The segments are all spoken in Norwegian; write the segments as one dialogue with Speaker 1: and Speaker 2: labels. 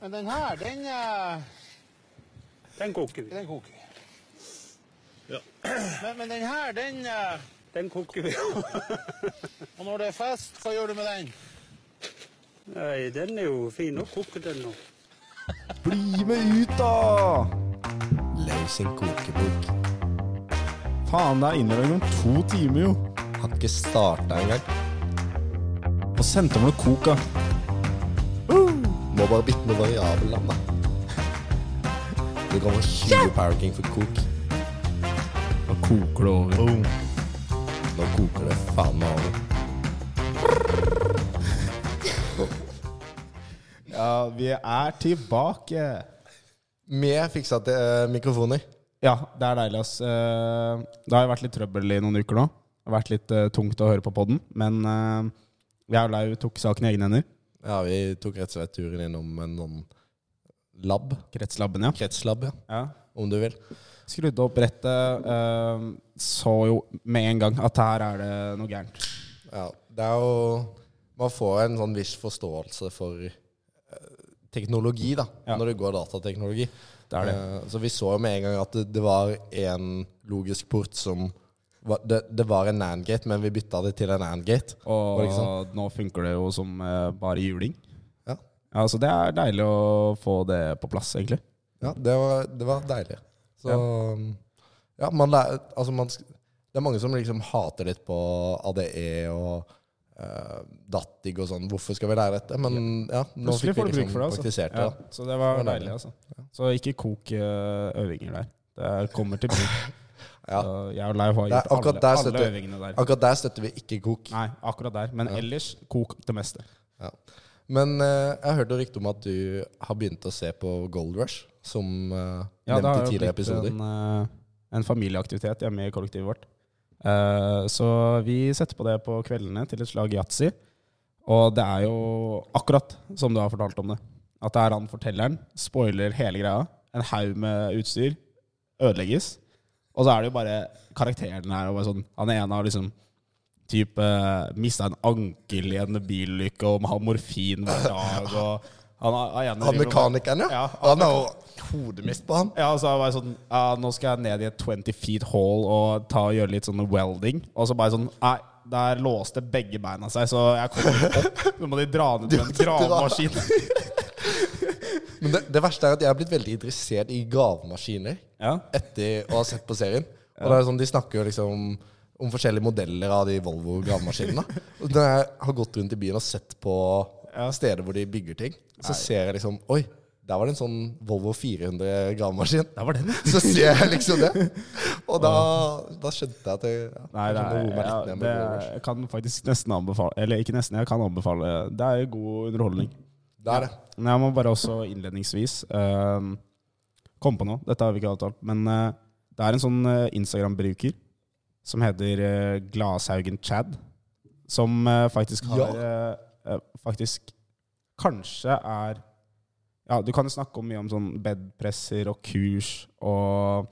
Speaker 1: Men den her, den, eh,
Speaker 2: Den koker vi.
Speaker 1: den koker.
Speaker 3: Ja.
Speaker 1: Men, men den her, den eh,
Speaker 2: Den koker vi.
Speaker 1: Og når det er fest, hva gjør du med den?
Speaker 2: Nei, den er jo fin å koke den nå.
Speaker 4: Bli med ut, da!
Speaker 5: Løs en kokebok.
Speaker 4: Faen, det er innlevering om to timer, jo.
Speaker 5: Har ikke starta engang.
Speaker 4: Og sendte meg noe coca.
Speaker 5: Må bare bytte med variabel land, da. Du kan få 20 Power King for kok.
Speaker 4: Da koker det over.
Speaker 5: Boom. Nå koker det faen meg over.
Speaker 4: Ja, vi er tilbake.
Speaker 5: Med fiksa til eh, mikrofoner.
Speaker 4: Ja, det er deilig, ass. Eh, Det har jo vært litt trøbbel i noen uker nå. Det har vært litt eh, tungt å høre på podden, men eh, jeg og Lau tok saken i egne hender.
Speaker 5: Ja, vi tok rett og slett turen innom en sånn lab.
Speaker 4: Kretslabben, ja.
Speaker 5: Kretslab, ja.
Speaker 4: ja.
Speaker 5: Om du vil.
Speaker 4: Skrudde opp rettet, eh, så jo med en gang at her er det noe gærent.
Speaker 5: Ja, det er jo Man får en sånn viss forståelse for eh, teknologi, da,
Speaker 4: Ja.
Speaker 5: når det går datateknologi.
Speaker 4: Det er det.
Speaker 5: Eh, så vi så jo med en gang at det, det var en logisk port som var, det, det var en NAND-gate, men vi bytta det til en AND-gate.
Speaker 4: Og
Speaker 5: Var det ikke sant?
Speaker 4: nå funker det jo som eh, bare juling.
Speaker 5: Ja.
Speaker 4: Ja, så det er deilig å få det på plass, egentlig.
Speaker 5: Ja, det var, det var deilig. Så Ja, man lærer Altså, man sk- Det er mange som liksom hater litt på ADE og uh, Dattig og sånn. Hvorfor skal vi lære dette? Men ja, nå
Speaker 4: Plutselig
Speaker 5: fikk
Speaker 4: får
Speaker 5: vi
Speaker 4: du bruk
Speaker 5: liksom
Speaker 4: for det. Altså.
Speaker 5: praktisert det.
Speaker 4: Ja,
Speaker 5: da.
Speaker 4: så det var,
Speaker 5: Det var
Speaker 4: deilig,
Speaker 5: deilig.
Speaker 4: altså. Så ikke kok eh, øvinger der. Det kommer til bruk.
Speaker 5: Ja.
Speaker 4: Så Jeg og Leiv har
Speaker 5: Det er
Speaker 4: gjort
Speaker 5: akkurat
Speaker 4: alle,
Speaker 5: der
Speaker 4: alle
Speaker 5: støtter-
Speaker 4: øvingene der.
Speaker 5: Akkurat der støtter vi ikke kok.
Speaker 4: Nei, akkurat der. Men ellers kok det meste.
Speaker 5: Ja. Men eh, jeg hørte rykte om at du har begynt å se på Gold Rush, som eh,
Speaker 4: Ja, det
Speaker 5: nevnt
Speaker 4: har
Speaker 5: i
Speaker 4: jo
Speaker 5: tidligere
Speaker 4: blitt
Speaker 5: episoder.
Speaker 4: en, eh, en familieaktivitet hjemme i kollektivet vårt. Eh, så vi setter på det på kveldene til et slag yatzy. Og det er jo akkurat som du har fortalt om det. At det er han fortelleren, spoiler hele greia. En haug med utstyr ødelegges. Og så er det jo bare karakteren her. Og bare sånn, han ene har liksom typ eh, mista en ankel i en bilulykke og må ha morfin hver dag. Og han, har- han ene
Speaker 5: Han
Speaker 4: driver og bare-
Speaker 5: mekanikeren, ja.
Speaker 4: Ja,
Speaker 5: han har jo hodemist på han.
Speaker 4: ja, og så var jeg sånn ja, Nå skal jeg ned i et 20 feet hall og ta og gjøre litt sånn welding. Og så bare sånn Nei, der låste begge beina seg, så jeg kommer ikke opp. Nå må de dra ned med en
Speaker 5: Du må dra.
Speaker 4: gravemaskin.
Speaker 5: Men det, det verste er at jeg er blitt veldig interessert i gravemaskiner
Speaker 4: Ja.
Speaker 5: etter å ha sett på serien. Og det er sånn, De snakker jo liksom om forskjellige modeller av de Volvo gravemaskinene. Og Når jeg har gått rundt i byen og sett på steder hvor de bygger ting, så ser jeg liksom Oi, der var det en sånn Volvo 400 gravemaskin.
Speaker 4: Der var den.
Speaker 5: Så ser jeg liksom det. Og da, da skjønte jeg at jeg, ja,
Speaker 4: Nei, det,
Speaker 5: jeg
Speaker 4: er,
Speaker 5: skjønner å roe meg
Speaker 4: ja,
Speaker 5: litt ned
Speaker 4: det
Speaker 5: med Blue
Speaker 4: er,
Speaker 5: Rush.
Speaker 4: jeg kan faktisk nesten anbefale Eller ikke nesten, jeg kan anbefale. Det er jo god underholdning.
Speaker 5: Det er det.
Speaker 4: Men jeg må bare også innledningsvis eh, komme på noe. Dette har vi ikke avtalt. Men eh, det er en sånn eh, Instagram-bruker som heter eh, Glashaugen Chad, som eh, faktisk har eh, eh, Faktisk kanskje er Ja, du kan jo snakke om mye om sånn bedpresser og kurs og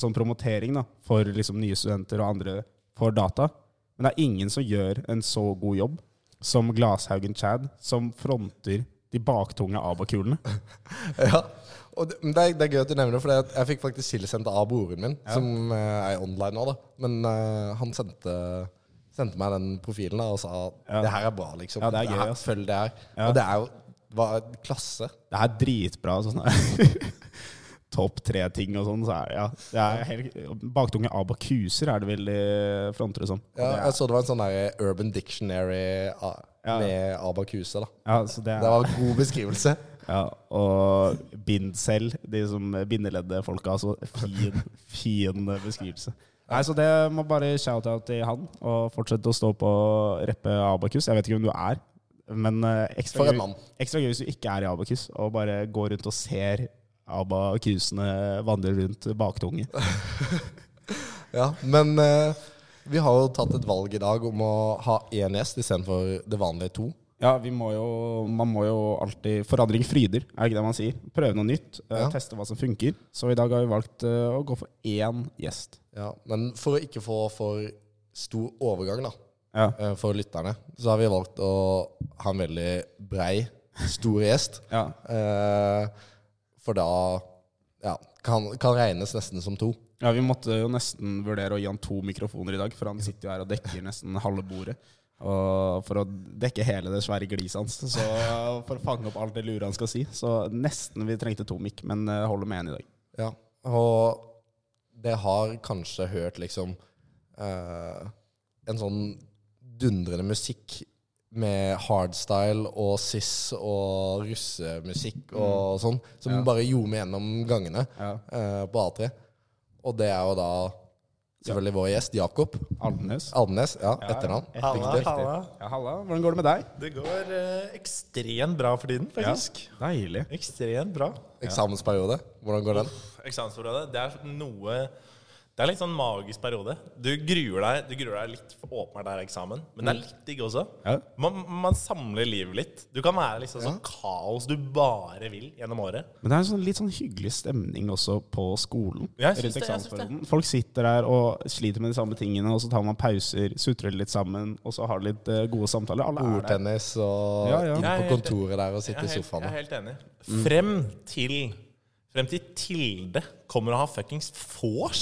Speaker 4: sånn promotering da, for liksom nye studenter og andre for data. Men det er ingen som gjør en så god jobb som Glashaugen Chad, som fronter de baktunge abakulene.
Speaker 5: Ja. Og det, men det, er, det er gøy at du nevner det, for det at jeg fikk faktisk sildesendt av broren min, som eh, er online nå, da. Men eh, han sendte, sendte meg den profilen da, og sa det her er bra, liksom.
Speaker 4: Ja, det er gøy, altså."
Speaker 5: her,
Speaker 4: ass.
Speaker 5: følg det her. Og det er jo var klasse.
Speaker 4: Det er dritbra. Sånn Topp tre-ting og sånn. Så er, ja, det er helt, baktunge abakuser er det vel de fronter det som. Og
Speaker 5: Ja,
Speaker 4: det er-
Speaker 5: jeg så det var en sånn der Urban Dictionary ah,
Speaker 4: Ja.
Speaker 5: med Abakuse, da.
Speaker 4: ja, så det er,
Speaker 5: Det var en god beskrivelse.
Speaker 4: ja, og bindsel, de som bindeledde-folka. Altså fin, fin beskrivelse. Nei, Så det må bare shout-out til han, og fortsette å stå på og reppe Abakus. Jeg vet ikke hvem du er, men eh, ekstra,
Speaker 5: For en
Speaker 4: gøy-
Speaker 5: mann.
Speaker 4: ekstra gøy hvis du ikke er i Abakus, og bare går rundt og ser Abakusene vandre rundt baktunge.
Speaker 5: Ja, men eh, vi har jo tatt et valg i dag om å ha én gjest istedenfor det vanlige to.
Speaker 4: Ja, vi må jo, man må jo alltid Forandring fryder, er det ikke det man sier? Prøve noe nytt, eh,
Speaker 5: Ja.
Speaker 4: teste hva som funker. Så i dag har vi valgt eh, å gå for én gjest.
Speaker 5: Ja, men for å ikke få for stor overgang da,
Speaker 4: Ja.
Speaker 5: eh, for lytterne, så har vi valgt å ha en veldig brei stor gjest.
Speaker 4: Ja.
Speaker 5: Eh, for da ja, kan, kan regnes nesten som to.
Speaker 4: ja, vi måtte jo nesten vurdere å gi han to mikrofoner i dag, for han sitter jo her og dekker nesten halve bordet. Og for å dekke hele det svære gliset hans, så eh, for å fange opp alt det lure han skal si. Så nesten vi trengte to mikk, men eh, holder med én i dag.
Speaker 5: Ja, og det har kanskje hørt liksom eh, en sånn dundrende musikk med hardstyle og sis og russemusikk og sånn, som bare ljomer gjennom gangene
Speaker 4: Ja.
Speaker 5: eh, på A3. Og det er jo da selvfølgelig vår gjest, Jakob
Speaker 4: Aldenes.
Speaker 5: Alnes, ja, etternavn.
Speaker 6: Halla,
Speaker 5: Riktig.
Speaker 6: halla.
Speaker 4: Ja, halla. Hvordan går det med deg?
Speaker 6: Det går eh, ekstremt bra for tiden, faktisk.
Speaker 4: Deilig.
Speaker 6: Ekstremt bra.
Speaker 5: Eksamensperiode, hvordan går den?
Speaker 6: Eksamensperiode, det er sånn noe Det er litt sånn magisk periode. Du gruer deg, du gruer deg litt for åpenbart det er eksamen, men det er litt digg også.
Speaker 4: Ja.
Speaker 6: Man, man samler livet litt. Du kan være liksom sånn kaos du bare vil gjennom året.
Speaker 4: Men det er en sånn, litt sånn hyggelig stemning også på skolen.
Speaker 6: Ja, jeg
Speaker 4: rundt
Speaker 6: syns det, jeg syns det.
Speaker 4: eksamensperioden. Folk sitter der og sliter med de samme tingene, og så tar man pauser, sutrer litt sammen, og så har litt eh, gode samtaler. Alle er der.
Speaker 5: Bordtennis og
Speaker 4: Ja, ja.
Speaker 5: inn
Speaker 6: Jeg er
Speaker 5: på
Speaker 6: helt-
Speaker 5: kontoret der og
Speaker 6: Jeg
Speaker 5: sitte i
Speaker 6: er helt, jeg
Speaker 5: sofaen.
Speaker 6: er helt enig. Frem til Frem til Tilde kommer og har fuckings vors.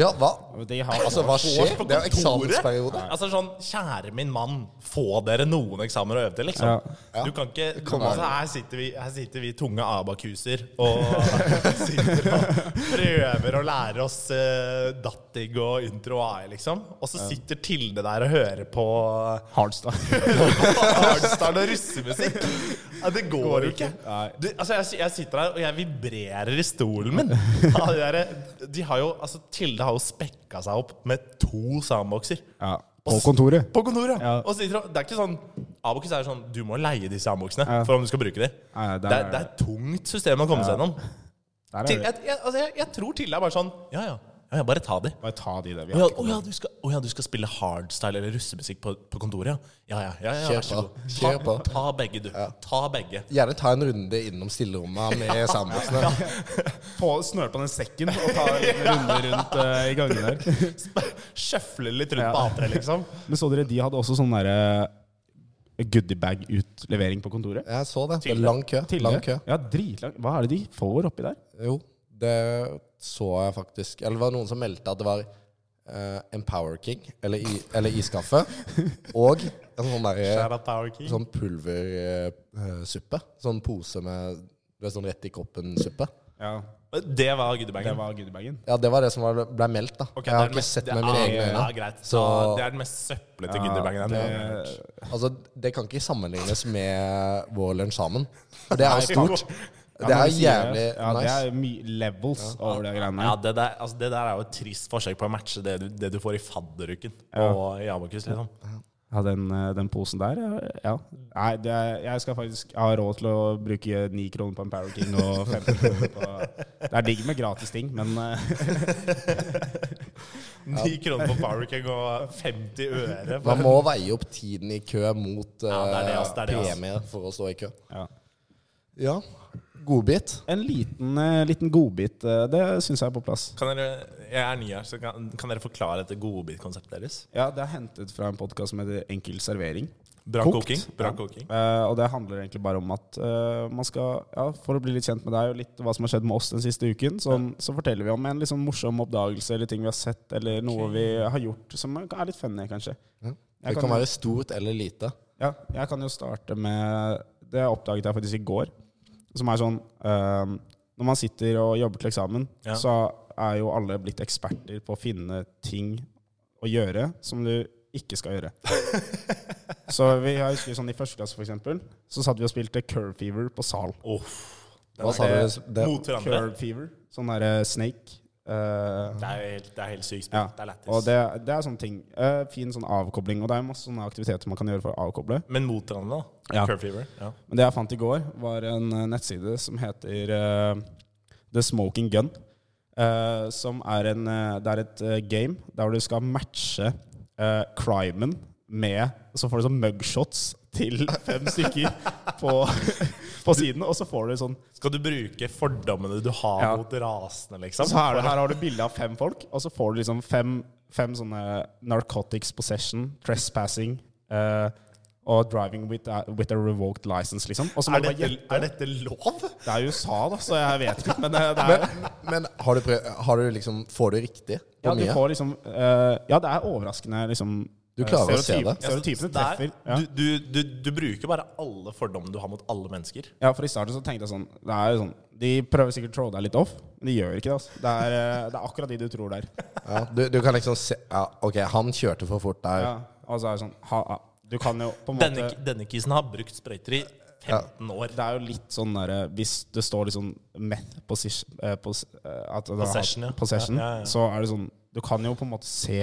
Speaker 5: Ja, hva?
Speaker 4: De har,
Speaker 5: Altså, hva skjer?
Speaker 6: på
Speaker 5: Det er jo
Speaker 6: kontoret?
Speaker 5: eksamensperiode.
Speaker 6: Altså sånn, kjære min mann, få dere noen eksamener å øve til, liksom.
Speaker 4: Ja.
Speaker 6: Du kan ikke
Speaker 5: Kom
Speaker 6: altså, her, sitter vi, her sitter vi tunge abakuser og sitter og prøver å lære oss uh, dattig og intro og AI, liksom. Og så sitter Tilde der og hører på
Speaker 4: hardstyle.
Speaker 6: hardstyle og russemusikk. Ja, det går, jo ikke.
Speaker 4: Nei.
Speaker 6: Du, altså, jeg, jeg sitter der, og jeg vibrerer i stolen min. Ja, de der- de har jo, altså, Tilde har jo spekka seg opp med to soundboxer.
Speaker 4: Ja, på kontoret.
Speaker 6: På kontoret,
Speaker 4: Ja.
Speaker 6: Og sitter, og- det er ikke sånn Abox er sånn Du må leie disse Aboxene
Speaker 4: Ja.
Speaker 6: for om du skal bruke dem.
Speaker 4: Nei, nei, der
Speaker 6: det, er,
Speaker 4: er-
Speaker 6: det er et tungt system å komme seg gjennom.
Speaker 4: Der er
Speaker 6: Til,
Speaker 4: det.
Speaker 6: jeg, jeg, altså, jeg, jeg tror Tilde er bare sånn Ja, ja. ja, ja bare ta de.
Speaker 4: Bare ta de der. Vi
Speaker 6: Å
Speaker 4: har
Speaker 6: ja,
Speaker 4: ikke
Speaker 6: å ja, du skal, å ja, du skal spille hardstyle eller russemusikk på, på kontoret, ja? Ja, ja, ja, ja
Speaker 5: Kjør
Speaker 6: vær så
Speaker 5: på.
Speaker 6: god.
Speaker 5: Kjør
Speaker 6: Ta,
Speaker 5: på.
Speaker 6: ta begge, du. Ta begge.
Speaker 5: Gjerne ta en runde innom stillerommet med samboksene.
Speaker 4: på, snør på den sekken og ta en runde rundt eh, i gangen der.
Speaker 6: Sjøfle litt rundt på A3, liksom.
Speaker 4: Men så dere, de hadde også sånn derre goodiebag-utlevering på kontoret.
Speaker 5: Jeg så det. det er lang kø.
Speaker 4: Tidligere.
Speaker 5: Lang kø.
Speaker 4: Ja, dritlang. Hva er det de får oppi der?
Speaker 5: Jo, det så jeg faktisk. Eller det var noen som meldte at det var eh, Empower King, eller, i, eller iskaffe, og en sånn derre
Speaker 6: Shout out Power King.
Speaker 5: sånn pulversuppe. sånn pose med du vet, sånn rett i koppen-suppe.
Speaker 4: Ja,
Speaker 6: Det var
Speaker 4: det
Speaker 6: goodiebagen.
Speaker 4: var goodiebagen.
Speaker 5: Ja, det var det som var, ble meldt, da.
Speaker 6: Ok,
Speaker 5: jeg har
Speaker 6: det er den
Speaker 5: ikke
Speaker 6: mest-
Speaker 5: sett
Speaker 6: det
Speaker 5: med
Speaker 6: er-
Speaker 5: mine egne
Speaker 6: Ja,
Speaker 5: øyne.
Speaker 6: greit.
Speaker 5: Så
Speaker 6: Ja, det er den mest søplete goodiebagen jeg har hørt.
Speaker 4: det-
Speaker 5: altså, det kan ikke sammenlignes med vår lunsj sammen. For det er jo
Speaker 6: Nei,
Speaker 5: stort.
Speaker 4: Ja,
Speaker 5: Det
Speaker 4: når
Speaker 5: er
Speaker 4: du sier
Speaker 5: jævlig
Speaker 4: det, ja,
Speaker 5: nice.
Speaker 4: Det er mye levels over det greiene
Speaker 6: Ja,
Speaker 4: der.
Speaker 6: det der, altså det der er jo et trist forsøk på å matche det du, det du får i fadderuken og i Abokus. liksom.
Speaker 4: Ja, den, eh, den posen der, ja, ja. Nei, det er, jeg skal faktisk ha råd til å bruke ni kroner på en Power King og 15 kroner på Det er digg med gratis ting, men eh,
Speaker 6: Ni kroner på Barricade og 50 øre.
Speaker 5: Man må veie opp tiden i kø mot
Speaker 6: Ja, det er det, ass, det er det,
Speaker 5: eh,
Speaker 6: ass.
Speaker 5: premie for å stå i kø.
Speaker 4: ja.
Speaker 5: Ja. Godbit.
Speaker 4: En liten, eh, liten godbit, eh, det syns jeg er på plass.
Speaker 6: Kan dere, jeg er ny her, så kan, kan dere forklare dette godbitkonseptet deres?
Speaker 4: Ja, det er hentet fra en podkast som heter Enkel servering.
Speaker 6: Bra
Speaker 4: Kokt.
Speaker 6: koking. Bra
Speaker 4: Ja.
Speaker 6: koking.
Speaker 4: Eh, og det handler egentlig bare om at eh, man skal, ja, for å bli litt kjent med deg og litt hva som har skjedd med oss den siste uken, sånn, så forteller vi om en litt sånn morsom oppdagelse eller ting vi har sett, eller noe vi har gjort som er litt funny, kanskje.
Speaker 5: Det
Speaker 4: Jeg
Speaker 5: kan
Speaker 4: kan-
Speaker 5: være stort eller lite.
Speaker 4: Ja, jeg kan jo starte med Det oppdaget jeg faktisk i går. Som er sånn eh, Når man sitter og jobber til eksamen,
Speaker 6: Ja.
Speaker 4: så er jo alle blitt eksperter på å finne ting å gjøre som du ikke skal gjøre. så vi jeg husker sånn i første klasse, for eksempel, så satt vi og spilte Curve Fever på sal.
Speaker 6: Uff.
Speaker 5: Hva sa du? Det,
Speaker 6: Mot hverandre.
Speaker 4: Curve Fever. Sånn derre Snake. eh,
Speaker 6: Det er jo helt, det er helt sykt spilt.
Speaker 4: ja.
Speaker 6: Det er lættis.
Speaker 4: Og det, det er sånne ting. Eh, fin sånn avkobling. Og det er masse sånne aktiviteter man kan gjøre for å avkoble.
Speaker 6: Men mot hverandre, da.
Speaker 4: Ja.
Speaker 6: Curve fever. Ja.
Speaker 4: Men det jeg fant i går, var en eh, nettside som heter eh, The Smoking Gun. eh, som er en eh, Det er et eh, game der du skal matche eh, crimen med Så får du sånn mugshots til fem stykker på, på siden, og så får du sånn
Speaker 6: Skal du bruke fordommene du har
Speaker 4: Ja.
Speaker 6: mot rasene, liksom?
Speaker 4: Så her, her har du bilde av fem folk, og så får du liksom fem, fem sånne narcotics possession, trespassing eh, og 'driving with a, with a revoked license', liksom. Og så må
Speaker 6: Er
Speaker 4: du bare
Speaker 6: dette,
Speaker 4: gjette.
Speaker 6: er dette lov?
Speaker 4: Det er USA, da, så jeg vet ikke. Men eh, det er
Speaker 5: Men, men har, du prøv, har du liksom Får du riktig på
Speaker 4: Ja, du
Speaker 5: mye?
Speaker 4: får liksom eh, Ja, det er overraskende, liksom
Speaker 5: Du klarer å se
Speaker 4: stereotyp-
Speaker 5: det.
Speaker 4: Stereotypene
Speaker 6: Der,
Speaker 4: treffer. Ja.
Speaker 6: du, du, du, du bruker bare alle fordommene du har mot alle mennesker.
Speaker 4: ja, for i starten så tenkte jeg sånn Det er jo sånn De prøver sikkert å trolle deg litt off, men de gjør ikke det. altså Det er, eh, det er akkurat de du tror der.
Speaker 5: Ja, du, du kan liksom se Ja, ok, han kjørte for fort der.
Speaker 4: Ja, og så er det sånn ha, ha. Du kan jo på en måte
Speaker 6: Denne, denne kisen har brukt sprøyter i 15 år.
Speaker 4: Det er jo litt sånn derre Hvis det står liksom meth position, eh, pos, eh, at det har-
Speaker 6: Possession, ja.
Speaker 4: possession
Speaker 6: Ja, ja, ja.
Speaker 4: så er det sånn Du kan jo på en måte se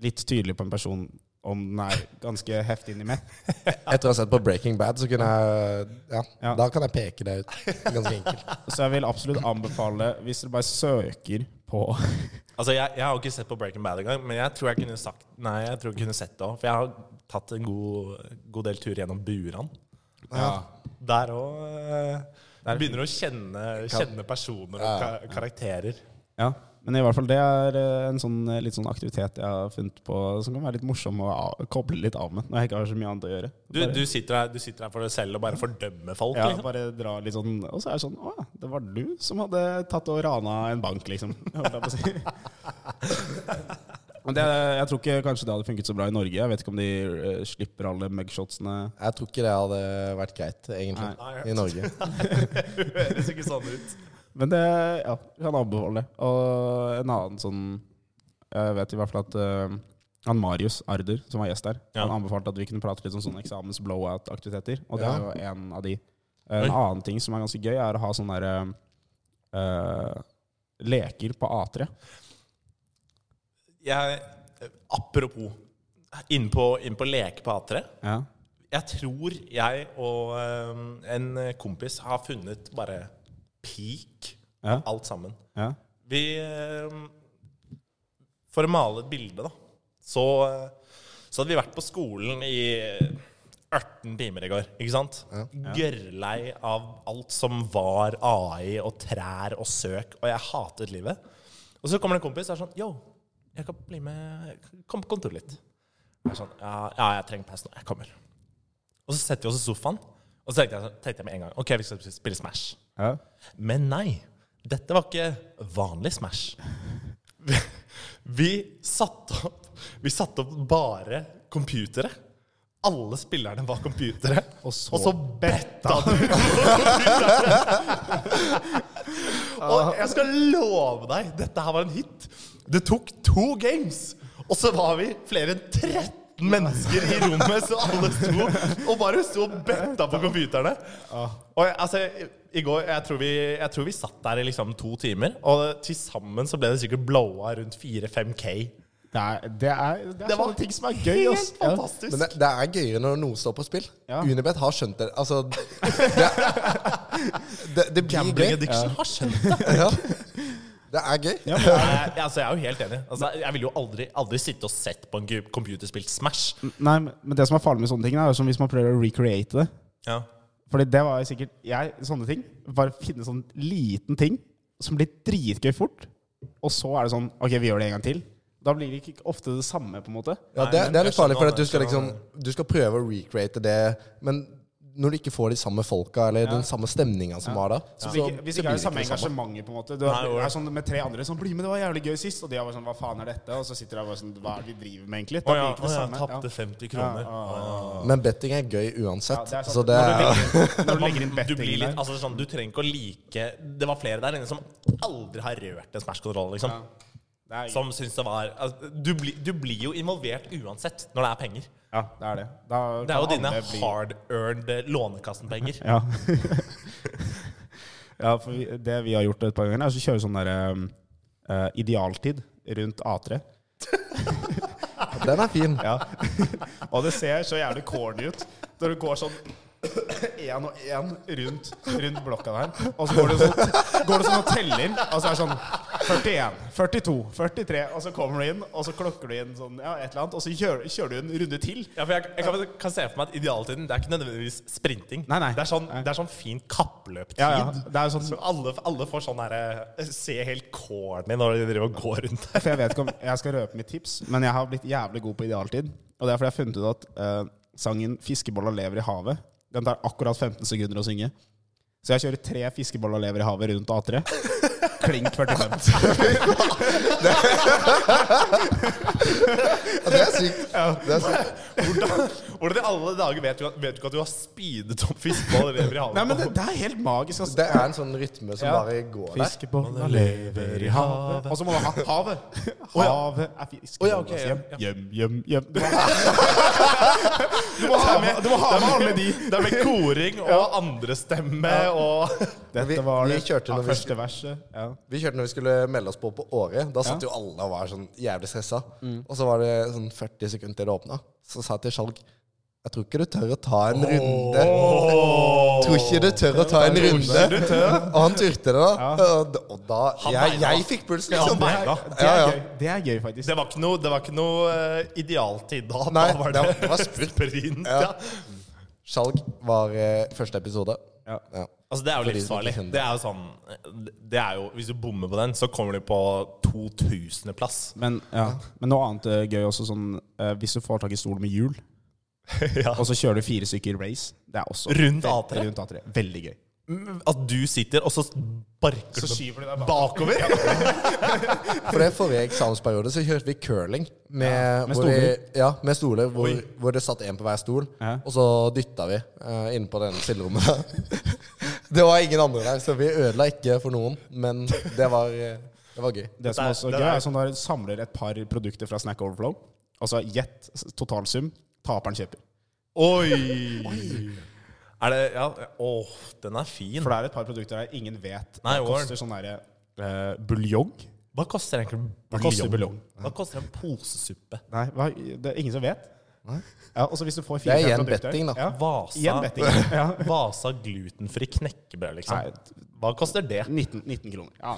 Speaker 4: litt tydelig på en person om den er ganske heftig inni meth.
Speaker 5: Etter å ha sett på Breaking Bad, så kunne jeg ja,
Speaker 4: Ja.
Speaker 5: da kan jeg peke det ut. Ganske enkelt.
Speaker 4: Så jeg vil absolutt anbefale, hvis dere bare søker på
Speaker 6: Altså, jeg, jeg har ikke sett på Breaking Bad engang, men jeg tror jeg kunne sagt Nei, jeg tror jeg kunne sett det òg. For jeg har tatt en god, god del tur gjennom Buran. Der òg Begynner å kjenne, kjenne personer og ka karakterer.
Speaker 4: Ja, men i hvert fall det er eh, en sånn, eh, litt sånn aktivitet jeg har funnet på som kan være litt morsom å av- koble litt av med når jeg ikke har så mye annet å gjøre.
Speaker 6: Du, du, sitter her, du sitter her for deg selv og bare fordømmer folk.
Speaker 4: Ja,
Speaker 6: liksom.
Speaker 4: bare dra litt sånn Og så er det sånn Å ja, det var du som hadde tatt og rana en bank, liksom. Holdt jeg på å si. Men det, jeg tror ikke kanskje det hadde funket så bra i Norge. Jeg vet ikke om de eh, slipper alle mugshotsene.
Speaker 5: Jeg tror ikke det hadde vært greit, egentlig,
Speaker 6: Nei.
Speaker 5: i Norge.
Speaker 6: Det høres ikke sånn ut.
Speaker 4: Men det ja, kan anbefale. Og en annen sånn Jeg vet i hvert fall at eh, han Marius Arder, som var gjest der,
Speaker 6: Ja.
Speaker 4: han anbefalte at vi kunne prate litt om sånne eksamens-blowout-aktiviteter. Og det er
Speaker 5: Ja.
Speaker 4: jo en av de. Eh, En annen ting som er ganske gøy, er å ha sånne derre eh, leker på A3.
Speaker 6: Jeg, apropos Inn på, inn på leke på A3.
Speaker 4: Ja.
Speaker 6: Jeg tror jeg og eh, en kompis har funnet bare peak
Speaker 4: Ja.
Speaker 6: av alt sammen.
Speaker 4: ja.
Speaker 6: Vi eh, For å male et bilde, da, så, eh, så hadde vi vært på skolen i 18 timer i går, ikke sant? Gørrlei av alt som var AI og trær og søk, og jeg hatet livet. Og så kommer det en kompis og er sånn Yo, jeg kan bli med Kom på kontoret litt. Jeg er sånn Ja, ja jeg trenger pause nå. Jeg kommer. Og så setter vi oss i sofaen, og så tenkte jeg, tenkte jeg med en gang OK, vi skal spille Smash.
Speaker 4: ja.
Speaker 6: Men nei, dette var ikke vanlig Smash. Vi, vi satte opp Vi satte opp bare computere. Alle spillerne var computere. Og så, betta du på computerne! Og jeg skal love deg, dette her var en hit. Det tok to games, og så var vi flere enn 13 mennesker i rommet, så alle sto og bare sto og betta på computerne. Og jeg, altså, i- i går, jeg tror, vi, jeg tror vi satt der i liksom to timer, og til sammen så ble det sikkert blowa rundt 4-5 K.
Speaker 4: Det er, det er, det er
Speaker 6: Det var
Speaker 4: sånne ting som er gøy. ass.
Speaker 6: Helt fantastisk.
Speaker 5: Men det, det er gøyere når noe står på spill.
Speaker 4: Ja.
Speaker 5: Unibet har skjønt det. Altså Det, det, det blir
Speaker 6: Gambling
Speaker 5: gøy.
Speaker 6: addiction har skjønt det.
Speaker 5: Ja. Det er gøy.
Speaker 6: Jeg, altså, jeg er jo helt enig. Altså, jeg ville jo aldri, aldri sitte og sett på en gu- computerspilt Smash.
Speaker 4: Nei, men det som er farlig med sånne ting, er jo som hvis man prøver å recreate det.
Speaker 6: Ja.
Speaker 4: Fordi det var jo sikkert jeg, sånne ting. Bare finne sånn liten ting som blir dritgøy fort. Og så er det sånn Ok, vi gjør det en gang til. Da blir det ikke ofte det samme, på en måte.
Speaker 5: Ja,
Speaker 6: Nei,
Speaker 5: det,
Speaker 6: men
Speaker 5: det er
Speaker 6: jeg
Speaker 5: litt farlig,
Speaker 6: skjønner
Speaker 5: for
Speaker 6: hva
Speaker 5: at du skal
Speaker 6: du-
Speaker 5: liksom Du skal prøve å recreate det, men når du ikke får de samme folka, eller den samme stemninga som var da
Speaker 4: Så blir ikke, hvis ikke er det samme
Speaker 5: det samme.
Speaker 4: engasjementet, på en måte. Du
Speaker 6: Nei, jo,
Speaker 4: er,
Speaker 6: ja.
Speaker 4: er sånn med tre andre sånn 'Bli med, det var jævlig gøy sist.' Og de er bare sånn 'Hva faen er dette?' Og så sitter de bare sånn 'Hva er det vi driver med, egentlig?' Da
Speaker 6: Å ja,
Speaker 4: blir det ikke det
Speaker 6: å ja,
Speaker 4: samme. Ja.
Speaker 6: tapte 50 kroner.
Speaker 5: Men betting er gøy
Speaker 4: Ja,
Speaker 5: uansett.
Speaker 4: det er sant.
Speaker 5: så det
Speaker 4: Når du
Speaker 5: er
Speaker 4: legger- Når du legger inn
Speaker 6: Man- Du, blir
Speaker 4: bettingen der.
Speaker 6: litt, altså, sånn, du trenger ikke å like Det var flere der inne som aldri har rørt en Smash-kontroll. Liksom.
Speaker 4: Det er-
Speaker 6: Som syns det var altså, du, blir- du blir jo involvert uensett når det er penger.
Speaker 4: Ja, det er det. Da
Speaker 6: Det er jo
Speaker 4: kan
Speaker 6: dine
Speaker 4: alle bli-
Speaker 6: hard-earned eh, Lånekassen-penger.
Speaker 4: Ja. ja, for vi, det vi har gjort et par ganger, er å kjøre sånn derre idealtid rundt A3.
Speaker 5: Den er fin.
Speaker 4: Ja. Og det ser så jævlig corny ut når du går sånn én og én rundt, rundt blokka der. Og så går du sånn, går du sånn og teller, og så er det sånn 41, 42, 43, og så kommer du inn, og så klokker du inn sånn, ja, et eller annet, og så kjører, kjører du en runde til.
Speaker 6: Ja, for jeg, jeg kan, kan se for meg at idealtiden Det er ikke nødvendigvis sprinting.
Speaker 4: Nei, nei.
Speaker 6: Det, er sånn,
Speaker 4: Nei.
Speaker 6: det er sånn fin kappløptid.
Speaker 4: Ja, ja. Det er jo sånn
Speaker 6: Så alle, alle får sånn derre Se helt corny når de driver og går rundt der.
Speaker 4: For jeg vet ikke om jeg skal røpe mitt tips, men jeg har blitt jævlig god på idealtid. Og det er fordi jeg har funnet ut at eh, sangen 'Fiskebolla lever i havet'. Den tar akkurat 15 sekunder å synge. Så jeg kjører tre 'Fiskebolla lever i havet' rundt A3. Klink 45.
Speaker 5: Ja, det er sykt. Det er sykt.
Speaker 6: Hvordan, hvordan i alle dager vet du, at- vet du ikke at du har speedet opp fiskeball lever i havet?
Speaker 4: Nei, men det, det er helt magisk. Altså.
Speaker 5: Det er en sånn rytme som
Speaker 4: Ja.
Speaker 5: bare går der.
Speaker 4: Fiskebolla lever i havet Og så må du ha havet. Havet er
Speaker 6: ja,
Speaker 4: fiskebolla
Speaker 6: ok, ja,
Speaker 4: hjem. Hjem, hjem, hjem. Du må ha, du må ha, med, du må ha med alle de.
Speaker 6: Det er med koring og andrestemme og
Speaker 5: Vi-
Speaker 4: Dette var
Speaker 5: vi
Speaker 4: det
Speaker 5: kjørte når vi-
Speaker 4: første verset. Ja.
Speaker 5: Vi kjørte når vi skulle melde oss på på Åre. Da satt jo alle og var sånn jævlig stressa. Og så var det sånn 40 sekunder til det åpna. Så sa jeg til Skjalg Jeg tror ikke du tør å ta en runde. Tror ikke du tør å ta en runde. Og han turte det, da. Og da- Og da Jeg, jeg fikk pulsen,
Speaker 6: Ja,
Speaker 5: liksom.
Speaker 6: nei, da.
Speaker 4: Det er
Speaker 5: Ja, ja.
Speaker 4: gøy, det er gøy faktisk.
Speaker 6: Det var ikke noe, det var ikke noe eh, idealtid da.
Speaker 5: Nei,
Speaker 6: da
Speaker 5: det
Speaker 6: var det,
Speaker 5: var- det var
Speaker 6: sprint.
Speaker 5: Ja.
Speaker 6: Ja.
Speaker 5: Skjalg var eh, første episode.
Speaker 4: Ja.
Speaker 5: Ja.
Speaker 6: Altså, det er
Speaker 5: de som
Speaker 6: jo
Speaker 5: ikke
Speaker 6: livsfarlig.
Speaker 5: kjenner
Speaker 6: Det er jo sånn det er jo, Hvis du bommer på den, så kommer du på 2000.-plass.
Speaker 4: Men, ja. Men noe annet eh, gøy også, sånn eh, hvis du får tak i stol med hjul,
Speaker 6: Ja.
Speaker 4: og så kjører du fire stykker race, det er også
Speaker 6: Rundt
Speaker 4: ve-
Speaker 6: A3?
Speaker 4: Rundt A3. Veldig gøy.
Speaker 6: At du sitter, og så sparker du
Speaker 4: skyver du deg
Speaker 6: bakover.
Speaker 5: For det forrige eksamensperiode så kjørte vi curling. Med,
Speaker 4: med
Speaker 5: hvor vi,
Speaker 4: stoler.
Speaker 5: ja, med stoler hvor, hvor det satt én på hver stol.
Speaker 4: Ja.
Speaker 5: Og så dytta vi eh, inne på det ene stillrommet. det var ingen andre der, så vi ødela ikke for noen. Men det var, eh, det var gøy.
Speaker 4: Det som
Speaker 6: er-
Speaker 4: også er
Speaker 6: det
Speaker 4: gøy,
Speaker 6: er-
Speaker 4: er sånn der samler et par produkter fra Snack Overflow. Altså gjett s- totalsum. Taperen kjøper.
Speaker 6: Oi! Er det Ja, åh, den er fin.
Speaker 4: For det er et par produkter der ingen vet.
Speaker 6: Nei,
Speaker 4: det koster sånn derre eh, buljong.
Speaker 6: Hva koster egentlig
Speaker 4: Hva koster
Speaker 6: buljong?
Speaker 4: buljong?
Speaker 6: Hva koster en posesuppe?
Speaker 4: Nei, hva, det er ingen som vet. Ja, og så hvis du får
Speaker 5: Det er
Speaker 4: fire-fem
Speaker 5: igjen
Speaker 4: produkter-
Speaker 5: betting, da.
Speaker 4: Ja. Igjen
Speaker 6: Vasa,
Speaker 4: betting. Ja.
Speaker 6: Vasa glutenfri knekkebrød, liksom.
Speaker 4: Nei,
Speaker 6: Hva koster det?
Speaker 4: 19, 19 kroner. Ja,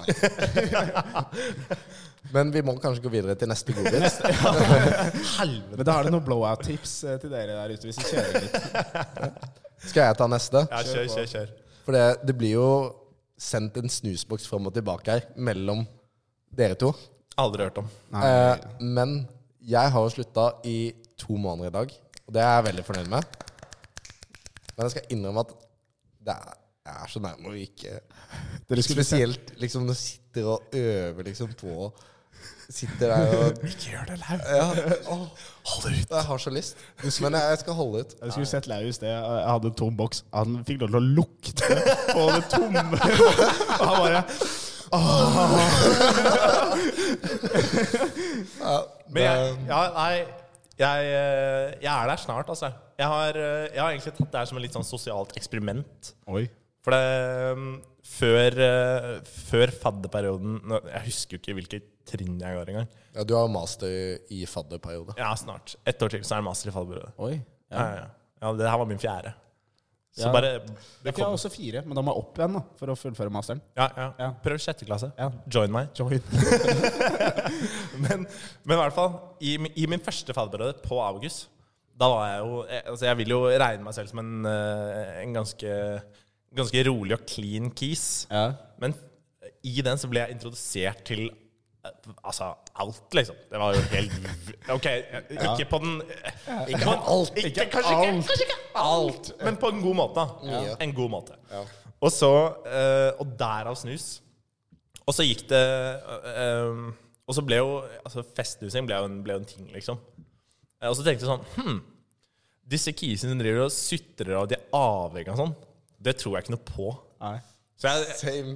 Speaker 4: nei.
Speaker 5: Men vi må kanskje gå videre til neste godbit.
Speaker 6: Helvete.
Speaker 4: Men da er det noen blowout-tips eh, til dere der ute hvis du kjører litt.
Speaker 5: Skal jeg ta neste?
Speaker 6: Ja, kjør, kjør, kjør.
Speaker 5: For det, det blir jo sendt en snusboks fram og tilbake her mellom dere to.
Speaker 6: Aldri hørt om.
Speaker 4: Nei.
Speaker 5: Eh, men jeg har jo slutta i to måneder i dag, og det er jeg veldig fornøyd med. Men jeg skal innrømme at det er, jeg er så nærme å ryke.
Speaker 4: Dere skulle se-
Speaker 5: Spesielt liksom når du sitter og øver liksom på Sitter der og Ikke gjør det, Lau. Ja, åh,
Speaker 6: Hold ut.
Speaker 5: jeg har så lyst. Men jeg, jeg skal holde ut.
Speaker 4: Jeg skulle sett Laus det. Jeg hadde en tom boks. Han fikk lov til å lukte på det tomme. Og han bare
Speaker 6: Men jeg,
Speaker 4: Um.
Speaker 5: Um,
Speaker 6: ja, nei, jeg, eh, jeg er der snart, altså. Jeg har, eh, jeg har egentlig tatt det her som et litt sånn sosialt eksperiment.
Speaker 4: Oi.
Speaker 6: For det mm, Før, eh, før fadderperioden nå- Jeg husker jo ikke hvilket trinn jeg går engang.
Speaker 5: Ja, du har master i fadderperiode.
Speaker 6: Ja, snart. Ett år til, så er det master i fadderperioden.
Speaker 4: Oi.
Speaker 6: Ja. Ja, ja. ja, det her var min fjerde. Så
Speaker 4: Ja.
Speaker 6: bare det
Speaker 4: Jeg har
Speaker 6: kom.
Speaker 4: også fire, men da må jeg opp igjen da, for å fullføre masteren.
Speaker 6: Ja, ja.
Speaker 4: Ja.
Speaker 6: Prøv sjette klasse.
Speaker 4: Ja.
Speaker 6: Join meg.
Speaker 4: Join.
Speaker 6: men, men i hvert fall, i, min- i min første fadderperiode på August, da var jeg jo jeg, Altså, jeg vil jo regne meg selv som en, eh, en ganske, ganske rolig og clean kis.
Speaker 4: Ja.
Speaker 6: Men eh, i den så ble jeg introdusert til eh, Altså alt, liksom. Det var jo helt Ok, eh, ikke på den eh, Ikke på alt. Ikke, kanskje, Ikke, kanskje ikke alt, men på en god måte. da.
Speaker 5: Ja.
Speaker 6: En god måte. Og så eh, Og derav snus. Og så gikk det eh, eh, Og så ble jo altså Festsnusing ble jo en, ble jo en ting, liksom. Eh, Og så tenkte jeg sånn Hm, disse kisene driver og sutrer og de er avhengig av sånn. Det tror jeg ikke noe på.
Speaker 4: Nei.
Speaker 6: Så jeg,
Speaker 5: Same.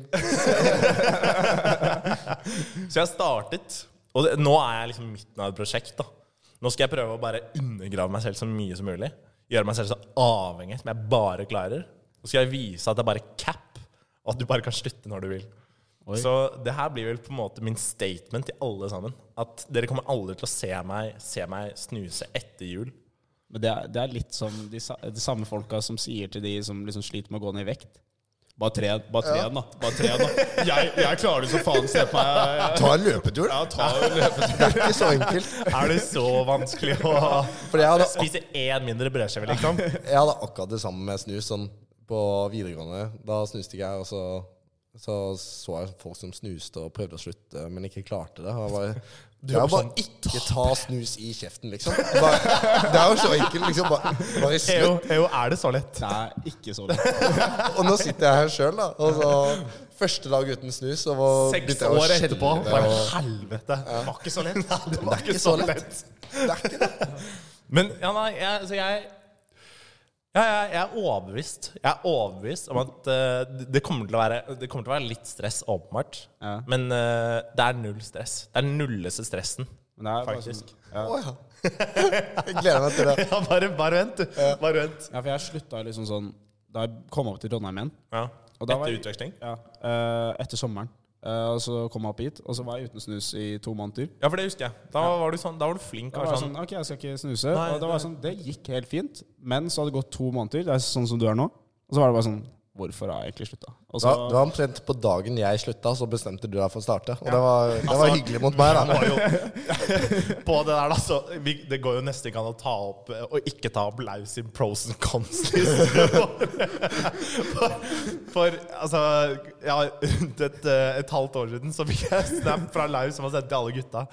Speaker 6: Så jeg startet, og det, nå er jeg liksom i midten av et prosjekt. da. Nå skal jeg prøve å bare undergrave meg selv så mye som mulig. Gjøre meg selv så avhengig som jeg bare klarer. Så skal jeg vise at det er bare cap, og at du bare kan slutte når du vil. Så det her blir vel på en måte min statement til alle sammen. At dere kommer aldri til å se meg, se meg snuse etter jul.
Speaker 4: Men det er, det er litt som de, sa- de samme folka som sier til de som liksom sliter med å gå ned i vekt. Bare tren, bare tren, da. Bare tren, da. Jeg, jeg klarer det som faen. Se på meg.
Speaker 5: Ta en løpetur.
Speaker 4: Ja, ta og løpe.
Speaker 5: Det er ikke så enkelt.
Speaker 6: Er det så vanskelig å
Speaker 5: Fordi jeg hadde
Speaker 6: spise én mindre brødskive, liksom?
Speaker 5: Jeg hadde akkurat det samme med snus sånn, på videregående. Da snuste ikke jeg, og så Så så jeg folk som snuste og prøvde å slutte, men ikke klarte det. Og jeg bare,
Speaker 6: Du
Speaker 5: det er
Speaker 6: er
Speaker 5: jo bare
Speaker 6: sånn,
Speaker 5: ikke ta snus i kjeften, liksom. Bare, det er jo så enkelt, liksom. Bare, bare slutt.
Speaker 6: er det så lett?
Speaker 4: Det er ikke så lett.
Speaker 5: Og nå sitter jeg her sjøl, da. Og så Første dag uten snus. Og så
Speaker 6: Seks
Speaker 5: begynte jeg å
Speaker 6: år
Speaker 5: skjelve,
Speaker 6: etterpå. Bare
Speaker 5: og-
Speaker 6: helvete. Det var ikke så lett. Det var
Speaker 5: ikke så lett. Det er ikke det.
Speaker 6: Men ja, nei, jeg, så jeg ja, jeg, jeg er overbevist Jeg er overbevist om at eh, det- det, kommer til å være, det kommer til å være litt stress, åpenbart.
Speaker 4: Ja.
Speaker 6: Men eh, det er null stress. Det er nulleste stressen.
Speaker 4: Men det er bare
Speaker 6: Faktisk.
Speaker 4: Sånn, ja.
Speaker 5: Å, ja. Jeg gleder meg til det.
Speaker 6: Ja, bare, bare vent, du. Bare vent.
Speaker 4: ja, for jeg slutta liksom sånn Da jeg kom opp til Trondheim igjen,
Speaker 6: Ja.
Speaker 4: Og da var-
Speaker 6: Etter utveksling?
Speaker 4: ja, eh, etter sommeren, eh, og så kom jeg opp hit, og så var jeg uten snus i to måneder.
Speaker 6: Ja, for det husker jeg. Da var du, sånn, da var du flink.
Speaker 4: Da
Speaker 6: og
Speaker 4: var
Speaker 6: var
Speaker 4: jeg
Speaker 6: sånn,
Speaker 4: sånn, ok, jeg skal ikke snuse.
Speaker 6: Nei,
Speaker 4: og det, var
Speaker 6: nei.
Speaker 4: sånn, det gikk helt fint, men så hadde det gått to måneder. Det er sånn som du er nå. Og så var det bare sånn Hvorfor har jeg egentlig slutta? Og
Speaker 5: Ja,
Speaker 4: så
Speaker 5: det var omtrent på dagen jeg slutta, så bestemte du deg for å starte. Og det var, det var hyggelig mot meg, da.
Speaker 6: Altså, var jo, på det der, da, så vi, Det går jo nesten ikke an å ta opp eh, og ikke ta opp Lau sin pros and cons-liste. For, for altså ja, Rundt et, eh, et halvt år siden så fikk jeg snap fra Lau som har sendt til alle gutta,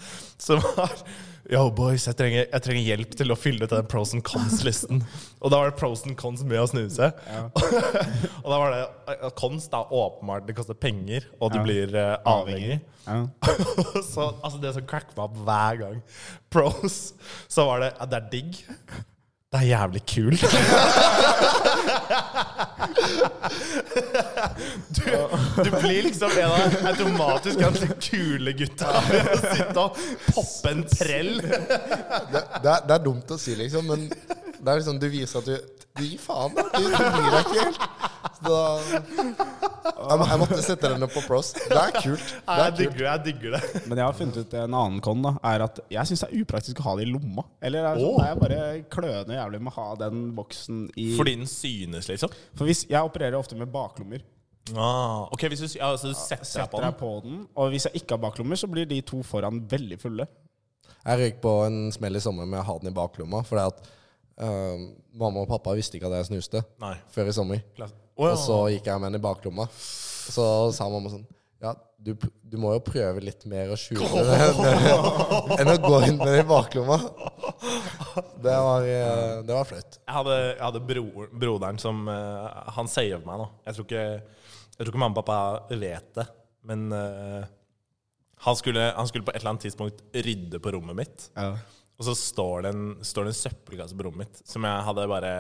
Speaker 6: som var Yo, boys, jeg trenger, jeg trenger hjelp til å fylle ut den pros and cons-listen. Og da var det pros and cons med å snuse. og da var det eh, cons, da. Åpenbart, det koster penger, og du blir eh, avhengig.
Speaker 4: Ja.
Speaker 6: så, altså det som cracker meg opp hver gang Pros, så var det ja, Det er digg Det er jævlig kul du, du blir liksom en av de automatisk ganske kule gutta Ved å sitte og poppe en trell
Speaker 5: Det, det, er, det er dumt å si, liksom, men det er liksom, du viser at du Du gir faen, da. Du, du bryr deg ikke helt. Så da jeg, må- jeg måtte sette den opp på pros. Det er kult. Det er
Speaker 6: Jeg
Speaker 5: kult.
Speaker 6: digger det, jeg digger det
Speaker 4: Men jeg har funnet ut en annen con, da. Er at jeg syns det er upraktisk å ha det i lomma. Eller er det sånn,
Speaker 6: Åh.
Speaker 4: nei, jeg bare kløner jævlig med å ha den boksen i
Speaker 6: Fordi den synes liksom
Speaker 4: For hvis, jeg opererer ofte med baklommer.
Speaker 6: ah, Ok, hvis du, ja, altså, du setter deg på
Speaker 4: Setter jeg
Speaker 6: den
Speaker 4: på den, og hvis jeg ikke har baklommer, så blir de to foran veldig fulle.
Speaker 5: Jeg røyk på en smell i sommer med å ha den i baklomma. For det at eh, mamma og pappa visste ikke at jeg snuste
Speaker 6: Nei.
Speaker 5: før i sommer.
Speaker 6: Åja.
Speaker 5: Og så gikk jeg med den i baklomma. Så sa mamma sånn Ja, du, p- du må jo prøve litt mer å skjule det enn- enn å gå inn med det i baklomma. Det var, eh, det var flaut.
Speaker 6: Jeg hadde, jeg hadde bror, broderen som eh, Han saver meg nå. Jeg tror ikke, jeg tror ikke mamma og pappa vet det. Men eh, han, skulle, han skulle på et eller annet tidspunkt rydde på rommet mitt. Og så står det, en, står det en søppelkasse på rommet mitt som jeg hadde bare,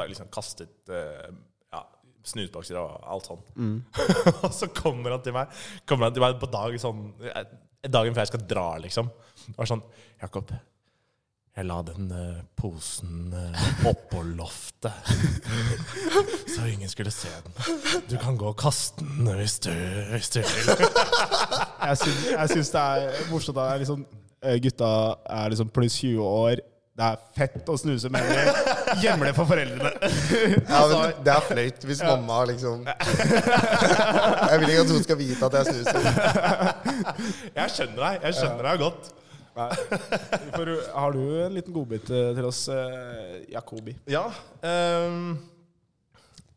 Speaker 6: bare liksom kastet eh, ja, snusbokser og alt sånn. og så kommer han til meg Kommer han til meg på dag sånn eh, Dagen før jeg skal dra, liksom. Og er sånn Jakob, jeg la den eh, posen eh, oppå loftet, så ingen skulle se den. Du kan gå og kaste den hvis du, hvis du vil.
Speaker 4: Jeg syns, jeg syns det er morsomt at det er liksom, eh, gutta er liksom pluss 20 år. Det er fett å snuse, men vi gjemmer det for foreldrene.
Speaker 5: Ja, men det er flaut hvis mamma liksom Jeg vil ikke at hun skal vite at jeg snuser.
Speaker 6: Jeg skjønner deg. Jeg skjønner deg godt.
Speaker 4: For, eh, har du en liten godbit eh, til oss, eh, Jakobi?
Speaker 6: Ja. ehm,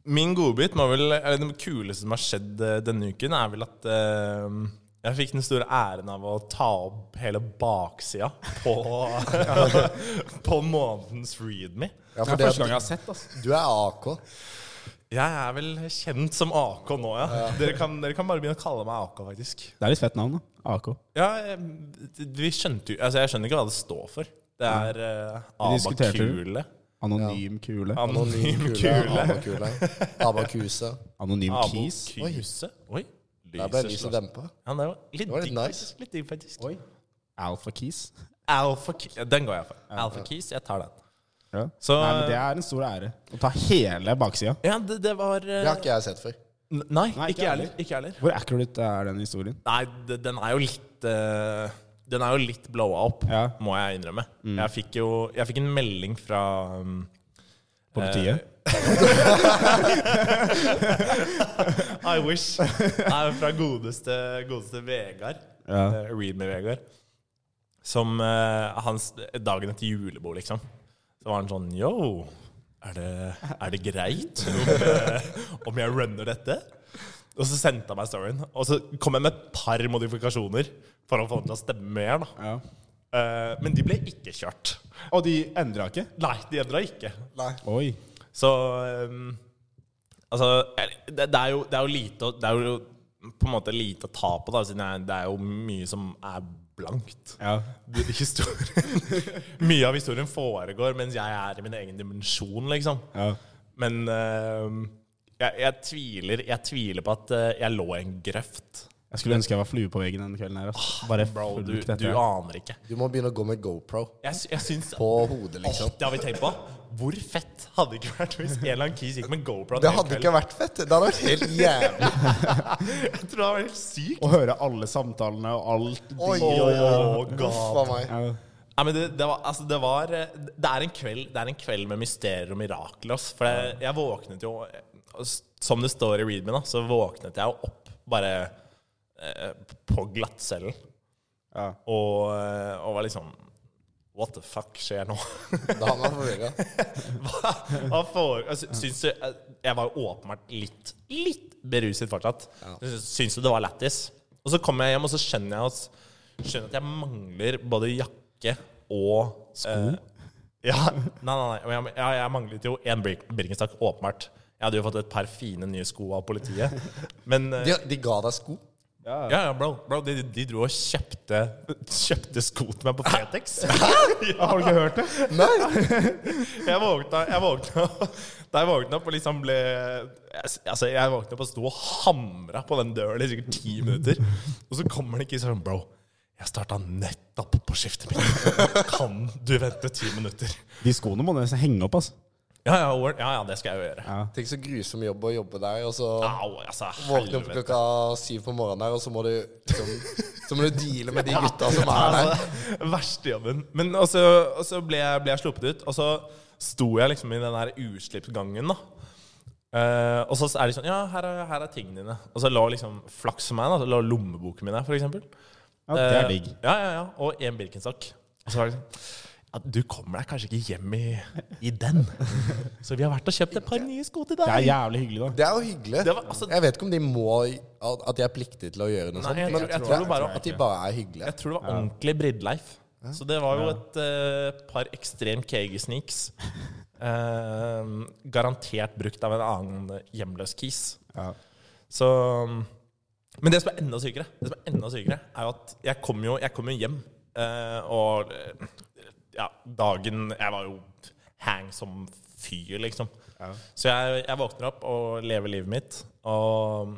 Speaker 6: min godbit må vel Eller det kuleste som har skjedd eh, denne uken, er vel at ehm, jeg fikk den store æren av å ta opp hele baksida på, på månedens Readme.
Speaker 4: Det
Speaker 5: Ja, for
Speaker 4: er
Speaker 5: det
Speaker 4: første gang
Speaker 5: at
Speaker 4: jeg har sett. Altså.
Speaker 5: du er AK.
Speaker 6: Jeg er vel kjent som AK nå, ja. Dere, kan, dere kan bare begynne å kalle meg AK, faktisk.
Speaker 4: Det er litt fett navn, da. AK.
Speaker 6: Ja, eh, vi skjønte jo Altså, jeg skjønner ikke hva det står for. Det er eh,
Speaker 4: Vi diskuterte det.
Speaker 6: Abakule.
Speaker 4: Anonym kule.
Speaker 6: Anonym kule.
Speaker 5: Abakule. Abakuse.
Speaker 4: Anonym kis.
Speaker 6: Abokuse. Oi.
Speaker 5: Der ble lyset
Speaker 6: slår.
Speaker 5: dempa.
Speaker 6: Ja, det var litt,
Speaker 5: var litt
Speaker 6: digg,
Speaker 5: nice.
Speaker 6: faktisk. Litt digg, faktisk.
Speaker 4: Alpha kis.
Speaker 6: Alpha Keys. Den går jeg for. Alpha Keys, jeg tar den.
Speaker 4: Ja.
Speaker 6: Så
Speaker 4: Nei, men det er en stor ære å ta hele baksida.
Speaker 6: Ja, det, det var eh,
Speaker 5: Det har ikke jeg sett før.
Speaker 6: n-
Speaker 4: Nei,
Speaker 6: Nei,
Speaker 4: ikke
Speaker 6: ikke jeg heller.
Speaker 4: heller.
Speaker 6: Ikke jeg heller.
Speaker 4: Hvor accurate er den historien?
Speaker 6: Nei, det, den er jo litt eh, Den er jo litt blowa opp,
Speaker 4: Ja. Mm.
Speaker 6: må jeg innrømme. Jeg fikk jo Jeg fikk en melding fra um,
Speaker 4: På
Speaker 6: Eh,
Speaker 4: politiet?
Speaker 6: I wish. Nei, fra godeste, godeste Vegard.
Speaker 4: Ja.
Speaker 6: Eh, Read me, Vegard. Som eh, hans dagen etter julebord, liksom. Så var han sånn Yo, er det, er det greit om, eh, om jeg runner dette? Og så sendte han meg storyen. Og så kom jeg med et par modifikasjoner for å få den til å stemme mer. da.
Speaker 4: Ja.
Speaker 6: Eh, men de ble ikke kjørt.
Speaker 4: Og de endra ikke?
Speaker 6: Nei, de endra ikke.
Speaker 4: Oi.
Speaker 6: Så ehm, Altså, jeg- det, det, er jo, det er jo lite å- Det er jo på en måte lite å ta på, da, siden jeg, det er jo mye som er blankt.
Speaker 4: Ja.
Speaker 6: Det- Historien Mye av historien foregår mens jeg er i min egen dimensjon, liksom.
Speaker 4: ja.
Speaker 6: Men ehm, jeg, jeg, tviler, jeg tviler på at eh, jeg lå i en grøft.
Speaker 4: Jeg skulle ønske jeg var flue på veggen den kvelden her. ass. Bare
Speaker 6: Bro, du,
Speaker 4: fulgt
Speaker 6: du
Speaker 4: etter.
Speaker 6: aner ikke.
Speaker 5: Du må begynne å gå med GoPro
Speaker 6: Jeg, sy- jeg syns
Speaker 5: på hodet, liksom.
Speaker 6: Det har vi tenkt på. Hvor fett hadde det ikke vært hvis en eller annen kis gikk med GoPro?
Speaker 5: Det hadde ikke vært fett. Det hadde vært helt jævlig.
Speaker 6: Jeg tror det var helt sykt.
Speaker 4: Og høre alle samtalene og alt.
Speaker 5: Oi,
Speaker 6: Åh,
Speaker 5: oi, oi.
Speaker 6: God.
Speaker 5: Uff a meg.
Speaker 4: Ja.
Speaker 6: Nei, men det, det, var, altså, det var eh, Det er en kveld, det er en kveld med mysterier og mirakler. ass. For jeg, jeg våknet jo eh, s- Som det står i readmen, da, så våknet jeg jo opp bare eh, på glattcellen.
Speaker 4: Ja.
Speaker 6: Og, eh, og var liksom What the fuck skjer nå?
Speaker 5: Da han var forvirra.
Speaker 6: Hva, hva for, altså, syns du Jeg var jo åpenbart litt, litt beruset fortsatt. Syns du det var lættis? Og så kommer jeg hjem, og så skjønner jeg at, skjønner at jeg mangler både jakke og Sko? ja, nei, nei, nei. Jeg, jeg, jeg manglet jo én Birk- Birkenstock, åpenbart. Jeg hadde jo fått et par fine nye sko av politiet. Men eh,
Speaker 5: De, de ga deg sko.
Speaker 6: ja, ja, bro, bro de, de dro og kjøpte, kjøpte sko til meg på Fretex. ja.
Speaker 4: Har du ikke hørt det?
Speaker 5: Nei!
Speaker 6: Jeg våkna, jeg våkna Da jeg våkna opp og liksom ble Altså, jeg våkna opp og sto og hamra på den døren i sikkert ti minutter. Og så kommer det ikke sånn Bro, jeg starta nettopp på skiftet mitt. Kan du vente ti minutter?
Speaker 4: De skoene må du nesten henge opp, altså.
Speaker 6: Ja ja, Warren, ja, ja det skal jeg jo gjøre.
Speaker 5: Tenk så grusom jobb å jobbe der, og så
Speaker 6: Au, altså,
Speaker 5: våkne opp
Speaker 6: helvete.
Speaker 5: klokka syv på morgenen der, og så må du liksom, Så må du deale med de gutta som er der.
Speaker 6: Altså, verste jobben. Men og så, og så ble, jeg, ble jeg sluppet ut, og så sto jeg liksom i den der utslippsgangen, da. Eh, og så er de sånn Ja, her er, her er tingene dine. Og så lå liksom flaks for meg, da, så lå lommeboken min der, for eksempel.
Speaker 4: Ja, det er
Speaker 6: Eh,
Speaker 4: digg.
Speaker 6: Ja, ja, ja. Og en Birkenstock. Og så var det sånn ja, Du kommer deg kanskje ikke hjem i, i den. Så vi har vært og kjøpt et par nye sko til deg.
Speaker 4: Det er jævlig hyggelig, da.
Speaker 5: Det er jo hyggelig.
Speaker 6: Det var- altså-
Speaker 5: jeg vet ikke om de må At de er pliktig til å gjøre noe
Speaker 6: Nei,
Speaker 5: sånt.
Speaker 6: jeg
Speaker 5: Men
Speaker 6: tror- jeg
Speaker 5: det
Speaker 6: tror
Speaker 5: er-
Speaker 6: det bare-
Speaker 5: at de bare er hyggelige.
Speaker 6: Jeg tror det var ordentlig Bridleif. Så det var jo et eh, par ekstremt keege sneaks. Eh, garantert brukt av en annen hjemløs kis.
Speaker 4: Ja.
Speaker 6: Så um, Men det som er enda sykere, det som er enda sykere er jo at jeg kom jo, jeg kom jo hjem, eh, og eh, ja, dagen Jeg var jo hang som fyr, liksom. Så jeg, jeg våkner opp og lever livet mitt. Og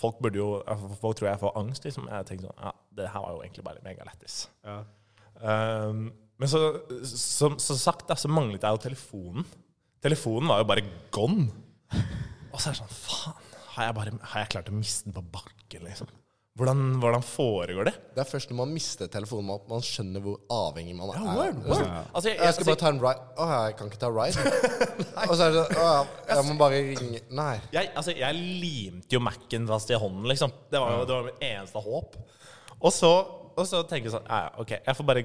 Speaker 6: folk burde jo altså, Folk tror jeg får angst, liksom. Jeg tenker sånn Ja, det her var jo egentlig bare megalættis. Um, men så, som, som sagt, da, så manglet jeg jo telefonen. Telefonen var jo bare gone. Og så er det sånn Faen, har jeg, bare, har jeg klart å miste den på bakken, liksom? Hvordan, hvordan foregår det?
Speaker 5: Det er først når man mister telefonen at man skjønner hvor avhengig man er. sånn,
Speaker 6: Altså,
Speaker 5: Jeg
Speaker 6: jeg,
Speaker 5: skal
Speaker 6: altså,
Speaker 5: bare ta en ride. Å, jeg kan ikke ta ride. og så er det sånn Å, jeg må bare ringe Nei.
Speaker 6: jeg, altså, jeg limte jo Mac-en fast i hånden, liksom. Det var jo det var mitt eneste håp. Og så, og så tenker jeg sånn ja, ja, OK, jeg får bare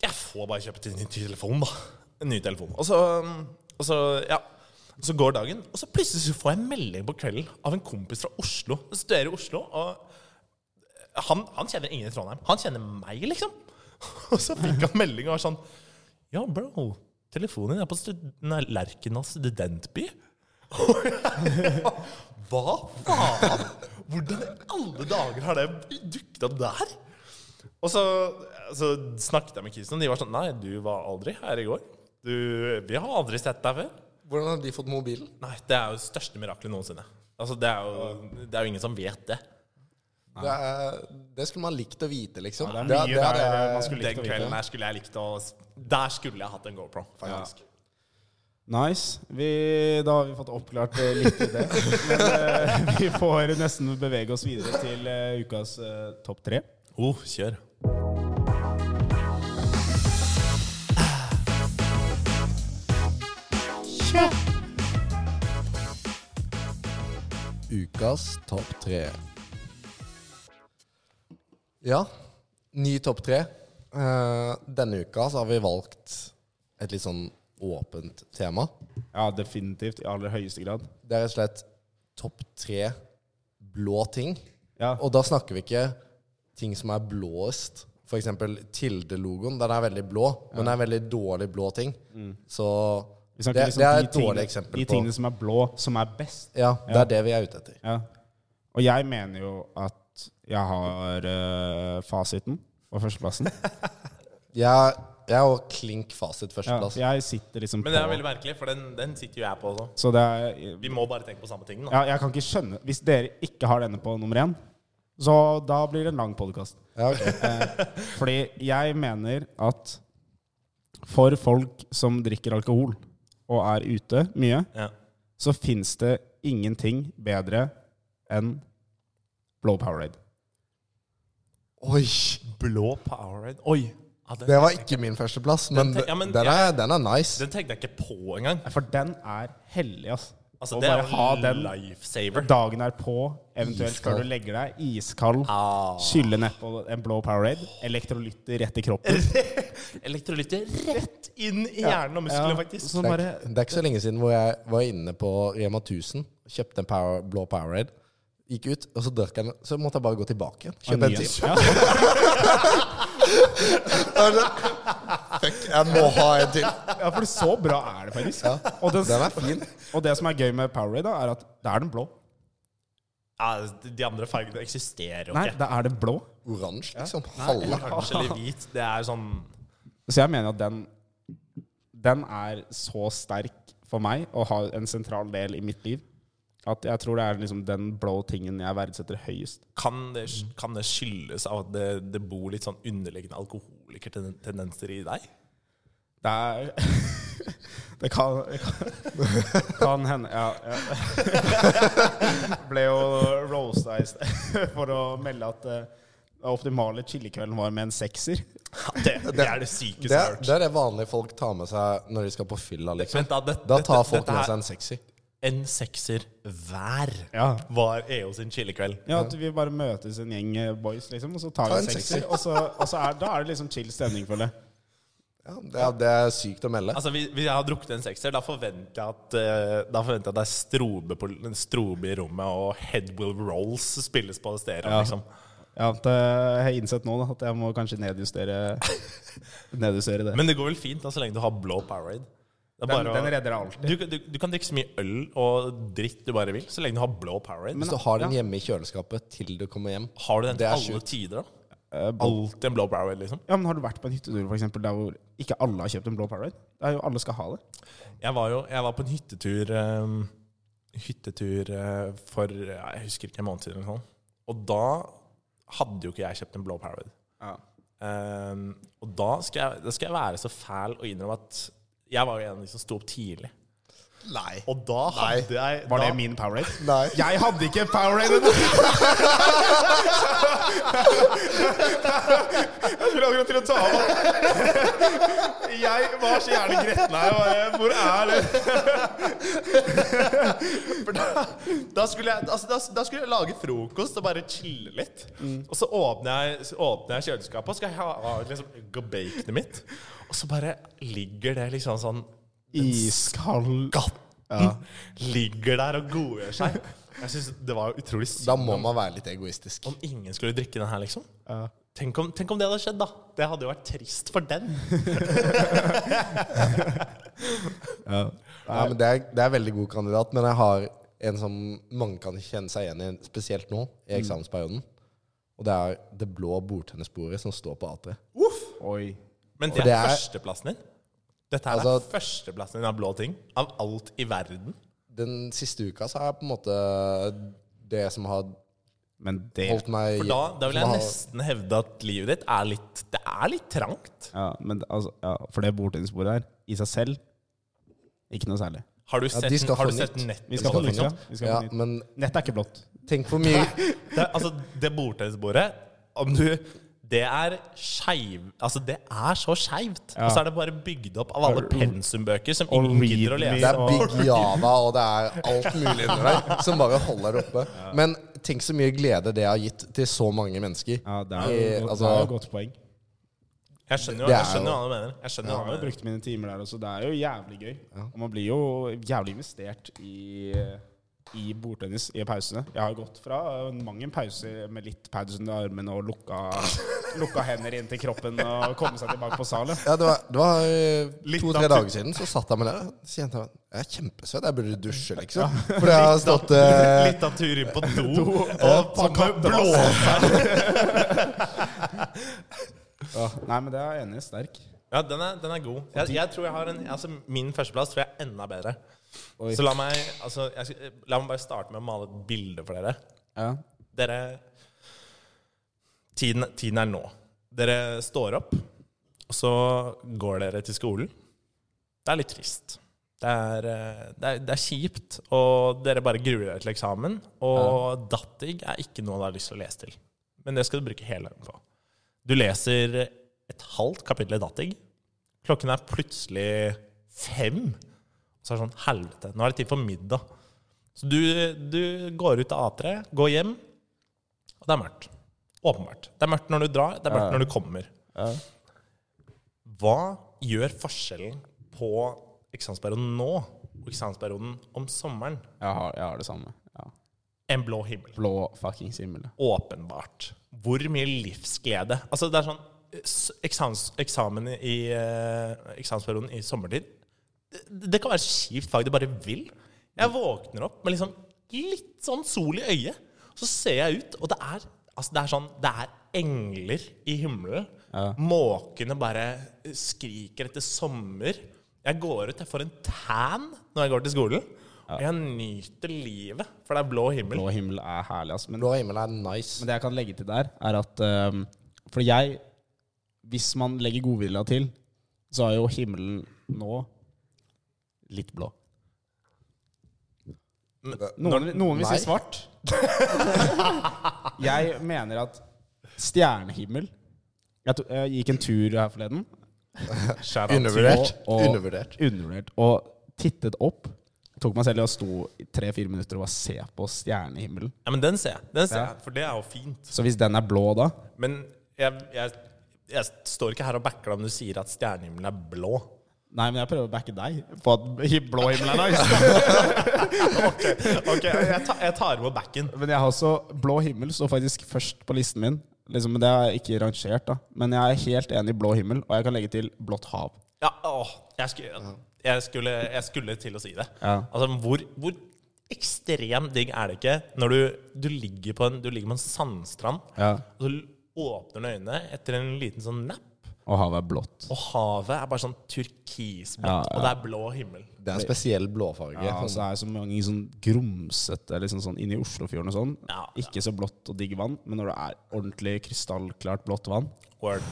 Speaker 6: Jeg får bare kjøpe en ny telefon, da. En ny telefon. Og så, og så ja. Så går dagen, og så plutselig så får jeg en melding på kvelden av en kompis fra Oslo. Han studerer i Oslo, og han, han kjenner ingen i Trondheim. Han kjenner meg, liksom. Og så fikk han melding og var sånn Ja, bro, telefonen din er på stud- nei, Lerkendal studentby. Og jeg var, Hva faen? Hvordan i alle dager har det dukket opp der? Og så, så snakket jeg med kisen, og de var sånn Nei, du var aldri her i går. Du, vi har aldri sett deg før.
Speaker 5: Hvordan har de fått mobilen?
Speaker 6: Nei, det er jo det største miraklet noensinne. Altså, det er jo, det er jo ingen som vet det.
Speaker 5: Det, er, det skulle man likt å vite, liksom.
Speaker 4: Det er mye
Speaker 5: det
Speaker 4: der eh,
Speaker 5: er-
Speaker 4: man skulle
Speaker 6: Den
Speaker 4: likt å vite.
Speaker 6: kvelden her skulle jeg likt å Der skulle jeg hatt en GoPro, faktisk.
Speaker 4: Nice. Vi, da har vi fått oppklart eh, litt i det. Men eh, vi får nesten bevege oss videre til eh, ukas eh, topp tre.
Speaker 6: Oh, kjør.
Speaker 5: Ukas topp tre. Ja, ny topp tre. Eh, denne uka så har vi valgt et litt sånn åpent tema.
Speaker 4: Ja, definitivt. I aller høyeste grad.
Speaker 5: Det er rett og slett topp tre blå ting.
Speaker 4: Ja.
Speaker 5: Og da snakker vi ikke ting som er blåest. For eksempel Tilde-logoen. Den er veldig blå, men det er veldig dårlig blå ting. Så
Speaker 4: Mm. Vi
Speaker 5: det,
Speaker 4: snakker liksom
Speaker 5: det er
Speaker 4: de
Speaker 5: et dårlig
Speaker 4: tingene-
Speaker 5: eksempel
Speaker 4: De
Speaker 5: på
Speaker 4: tingene som er blå, som er best.
Speaker 5: Ja, det er det vi er ute etter.
Speaker 4: Ja. Og jeg mener jo at jeg har eh, fasiten på førsteplassen.
Speaker 5: Jeg, jeg har klink fasit altså.
Speaker 4: Ja,
Speaker 5: førsteplass.
Speaker 4: jeg sitter liksom
Speaker 6: Men det er
Speaker 4: på
Speaker 6: veldig merkelig, for den, den sitter jo jeg på også.
Speaker 4: Så det er
Speaker 6: Vi må bare tenke på samme ting, da.
Speaker 4: Ja, jeg kan ikke skjønne Hvis dere ikke har denne på nummer én, så da blir det en lang podkast.
Speaker 5: Ja, ok.
Speaker 4: Fordi jeg mener at for folk som drikker alkohol og er ute mye,
Speaker 6: Ja.
Speaker 4: så fins det ingenting bedre enn Blow Powerade.
Speaker 5: Oi!
Speaker 6: Blå Powerade Oi! Ja, den,
Speaker 5: Det var ikke min førsteplass, men,
Speaker 6: Den- ja, men
Speaker 5: den, er, den er nice.
Speaker 6: den tenkte jeg ikke på engang.
Speaker 4: For den er hellig, ass.
Speaker 6: Altså,
Speaker 4: Å
Speaker 6: det er
Speaker 4: bare ha
Speaker 6: jo
Speaker 4: den
Speaker 6: lifesaver.
Speaker 4: dagen er på, eventuelt før
Speaker 5: Iskald.
Speaker 4: du legger deg, iskald,
Speaker 6: Ah.
Speaker 4: skylle nedpå en Blow Powerade, elektrolytter rett i kroppen.
Speaker 6: Elektrolytter rett inn i hjernen og musklene, faktisk.
Speaker 4: Så
Speaker 5: Det er,
Speaker 4: bare
Speaker 5: ikke- det er ikke så lenge siden hvor jeg var inne på Rema 1000, kjøpte en power, blå Powerade, gikk ut, og så drakk jeg den. Så måtte jeg bare gå tilbake igjen. Kjøpe en til.
Speaker 4: Ja.
Speaker 5: Fuck, jeg må ha en til.
Speaker 4: Ja, for så bra er det faktisk. og, det,
Speaker 5: Den er fin.
Speaker 4: og det som er gøy med Powerade, da, er at det er den blå.
Speaker 6: Ja, de andre fargene eksisterer jo
Speaker 4: Nei,
Speaker 6: ikke.
Speaker 4: det er den blå.
Speaker 5: Oransje, liksom. Halve.
Speaker 6: Oransje eller hvit, det er sånn
Speaker 4: Så jeg mener at den, den er så sterk for meg og har en sentral del i mitt liv at jeg tror det er liksom den blå tingen jeg verdsetter høyest.
Speaker 6: kan det, kan det skyldes av at det, det bor litt sånn underliggende alkoholikertendenser i deg?
Speaker 4: Det er Det kan Kan, kan hende Ja. ja. Ble jo roasta i sted for å melde at eh, den optimale chillekvelden var med en sekser.
Speaker 6: Ja, det, det er det
Speaker 5: Det
Speaker 6: sykeste jeg
Speaker 5: er,
Speaker 6: har hørt.
Speaker 5: det er det vanlige folk tar med seg når de skal på fylla, liksom.
Speaker 6: Vent da, det-
Speaker 5: Da
Speaker 6: dette-
Speaker 5: tar folk
Speaker 6: dette
Speaker 5: med
Speaker 6: her-
Speaker 5: seg en sexy.
Speaker 6: En sekser hver
Speaker 4: Ja.
Speaker 6: var EO sin chillekveld.
Speaker 4: Ja, at vi bare møtes en gjeng eh, boys, liksom, og så tar
Speaker 5: Ta
Speaker 4: vi en
Speaker 5: en
Speaker 4: sekser.
Speaker 5: sekser.
Speaker 4: Og, så, og så er, da er det liksom chill stemning, føler jeg.
Speaker 5: Ja, det, er, det er sykt å melde.
Speaker 6: Altså, hvis hvis jeg har drukket en sekser, da forventer jeg at, eh, da forventer jeg at det er strobe, på, en strobe i rommet, og Headwill Rolls spilles på stereo. Liksom.
Speaker 4: Ja, det jeg har innsett nå da, at jeg må kanskje nedjustere, nedjustere det.
Speaker 6: Men det går vel fint da, så lenge du har blå Powerade. Det er
Speaker 4: Den-
Speaker 6: bare å-
Speaker 4: den redder alltid.
Speaker 6: Du, kan- du, du kan drikke så mye øl og dritt du bare vil, så lenge du har blå Powerade.
Speaker 5: Hvis du har den hjemme i kjøleskapet til du kommer hjem
Speaker 6: har du den til
Speaker 5: Det er
Speaker 6: alle
Speaker 5: sjukt. Eh,
Speaker 6: tider, da? Alltid en blå Powerade, liksom.
Speaker 4: ja, men Har du vært på en hyttetur for eksempel, der hvor ikke alle har kjøpt en blå Powerade? Det er jo alle skal ha det.
Speaker 6: Jeg var jo jeg var på en hyttetur eh, Hyttetur eh, for ja, jeg husker ikke en måned siden. Eller noe sånt. Og da hadde jo ikke jeg kjøpt en blå Powerade.
Speaker 4: Ja.
Speaker 6: Eh, og da skal, jeg, da skal jeg være så fæl og innrømme at jeg var jo en av de som sto opp tidlig.
Speaker 5: Nei.
Speaker 6: Og da hadde jeg
Speaker 4: Var
Speaker 6: da,
Speaker 4: det min Powerade?
Speaker 5: Nei.
Speaker 4: Jeg hadde ikke Powerade! Jeg skulle akkurat til å ta av meg. Jeg var så gjerne gretten her. jeg bare, Hvor er det?
Speaker 6: For da, da, skulle jeg, altså, da, da skulle jeg lage frokost og bare chille litt.
Speaker 4: Mm.
Speaker 6: Og så åpner jeg, så åpner jeg kjøleskapet og skal ha ha liksom, gå baconet mitt. Og så bare ligger det liksom sånn
Speaker 4: Iskald
Speaker 6: Gatten ligger der og godgjør seg. Jeg synes Det var jo utrolig synd
Speaker 5: Da må man være litt egoistisk.
Speaker 6: om ingen skulle drikke den her, liksom. Tenk om, tenk om det hadde skjedd, da. Det hadde jo vært trist for den.
Speaker 5: Nei, men det, er, det er veldig god kandidat, men jeg har en som mange kan kjenne seg igjen i, spesielt nå, i eksamensperioden. Og det er det blå bordtennisbordet som står på A3.
Speaker 4: Oi.
Speaker 6: Men det
Speaker 5: det
Speaker 6: er
Speaker 5: er-
Speaker 6: førsteplassen din. Dette her
Speaker 5: Altså-
Speaker 6: er førsteplassen din av blå ting. Av alt i verden.
Speaker 5: Den siste uka så er på en måte det som har
Speaker 4: Men det
Speaker 5: holdt meg
Speaker 6: For da, da vil jeg
Speaker 5: som har-
Speaker 6: nesten hevde at livet ditt er litt Det er litt trangt.
Speaker 4: Ja, men altså, ja, for det bordtennisbordet her, i seg selv, ikke noe særlig.
Speaker 6: Har du
Speaker 5: Ja,
Speaker 6: sett,
Speaker 5: de skal få
Speaker 6: har du sett
Speaker 5: nytt.
Speaker 6: nettet?
Speaker 4: Vi skal
Speaker 6: på
Speaker 4: på nytt,
Speaker 6: det?
Speaker 4: ja. Vi skal
Speaker 5: Ja,
Speaker 4: på nytt.
Speaker 5: men
Speaker 4: Nett er ikke blått.
Speaker 5: tenk hvor mye
Speaker 6: Det, er- altså, det bordtennisbordet Om du Det er skeiv... Altså, det er så skeivt. Og så er det bare bygd opp av alle pensumbøker som
Speaker 4: og
Speaker 6: ingen gidder å
Speaker 4: readme.
Speaker 5: Det
Speaker 6: lese.
Speaker 5: er Big Java, og det er alt mulig under der som bare holder det oppe. Men tenk så mye glede det har gitt til så mange mennesker.
Speaker 4: Ja, det er jo
Speaker 5: Eh,
Speaker 4: et godt, det
Speaker 5: altså-
Speaker 4: er jo et godt poeng.
Speaker 6: Jeg skjønner jo
Speaker 5: Det er
Speaker 6: jeg skjønner
Speaker 5: jo-
Speaker 6: hva du mener. Jeg skjønner
Speaker 4: Jeg
Speaker 6: hva
Speaker 4: har jo
Speaker 6: du mener.
Speaker 4: brukt mine timer der også. Det er jo jævlig gøy. Og man blir jo jævlig investert i i bordtennis i pausene. Jeg har gått fra eh, mange pauser med litt pads under armene og lukka, lukka hender inn til kroppen og komme seg tilbake på salen.
Speaker 5: Ja, det var, det var
Speaker 6: Litt
Speaker 5: to-tre
Speaker 6: av-
Speaker 5: dager siden, så satt jeg med der. Så kjente jeg jeg er kjempesvett, jeg burde dusje, liksom. Fordi jeg har stått eh,
Speaker 6: Litt av tur inn på do, og samme blåser.
Speaker 4: Ja. Nei, men det er jeg enig i. Sterk.
Speaker 6: Ja, den er, den er god. Jeg, jeg tror jeg har en, altså Min førsteplass tror jeg er enda bedre.
Speaker 4: Oi.
Speaker 6: Så la meg, altså, jeg, skal- la meg bare starte med å male et bilde for dere.
Speaker 4: Ja.
Speaker 6: Dere tiden, tiden er nå. Dere står opp, og så går dere til skolen. Det er litt trist. Det er, eh, det er, det er kjipt, og dere bare gruer dere til eksamen. Og datting er ikke noe du har lyst til å lese til. Men det skal du bruke hele dagen på. Du leser et halvt kapittel i datting. Klokken er plutselig fem. Så er det sånn Helvete, nå er det tid for middag. Så du, du går ut av A3, går hjem, og det er mørkt. Åpenbart. Det er mørkt når du drar, det er mørkt når du kommer. Hva gjør forskjellen på eksamensperioden nå og eksamensperioden om sommeren?
Speaker 4: Jeg har, jeg har det samme. Ja.
Speaker 6: En blå himmel.
Speaker 4: Blå fuckings himmel.
Speaker 6: Åpenbart. Hvor mye livsglede. Altså, det er sånn s- eksamens, Eksamen i eh, eksamensperioden i sommertid Det det kan være så kjipt fag du bare vil. Jeg våkner opp med liksom litt sånn sol i øyet, så ser jeg ut, og det er, altså det er sånn Det er engler i himmelen. Måkene bare skriker etter sommer. Jeg går ut, jeg får en tan når jeg går til skolen. Og jeg nyter livet, for det er blå himmel.
Speaker 4: Blå himmel er herlig, ass. Men
Speaker 5: Blå himmel er nice.
Speaker 4: Men det jeg kan legge til der, er at ehm, For jeg Hvis man legger godvilja til, så er jo himmelen nå litt blå. Noen, noen vil si
Speaker 5: Nei.
Speaker 4: svart. jeg mener at stjernehimmel jeg, to, jeg gikk en tur her forleden.
Speaker 6: Skjær av.
Speaker 5: Undervurdert.
Speaker 4: Og, og,
Speaker 5: Undervurdert.
Speaker 4: undervurdert. Og tittet opp. Tok meg selv i å stå i tre-fire minutter og bare se på stjernehimmelen.
Speaker 6: Ja, men den ser jeg. Den ser jeg, For det er jo fint.
Speaker 4: Så hvis den er blå da
Speaker 6: Men jeg, jeg, jeg står ikke her og backer deg om du sier at stjernehimmelen er blå.
Speaker 4: Nei, men jeg prøver å backe deg på at hi- blå himmel er nice.
Speaker 6: Ok, Jeg, ta, jeg tar imot backen.
Speaker 4: Men jeg har også Blå himmel står faktisk først på listen min. Liksom, men Det er ikke rangert, da. Men jeg er helt enig i blå himmel, og jeg kan legge til blått hav.
Speaker 6: Ja, åh, jeg, skulle, jeg, skulle, jeg skulle til å si det.
Speaker 4: Ja.
Speaker 6: Altså, hvor, hvor ekstrem digg er det ikke når du, du, ligger, på en, du ligger på en sandstrand,
Speaker 4: Ja.
Speaker 6: og så åpner du øynene etter en liten sånn napp,
Speaker 4: Og havet er blått.
Speaker 6: og havet er bare sånn turkisblått,
Speaker 4: Ja, ja.
Speaker 6: og det er blå himmel.
Speaker 5: Det er en spesiell blåfarge.
Speaker 4: Ja, og så er det så mange sånn grumsete liksom sånn inni Oslofjorden og sånn.
Speaker 6: Ja, ja.
Speaker 4: Ikke så blått og digg vann, men når det er ordentlig krystallklart blått vann
Speaker 6: Word.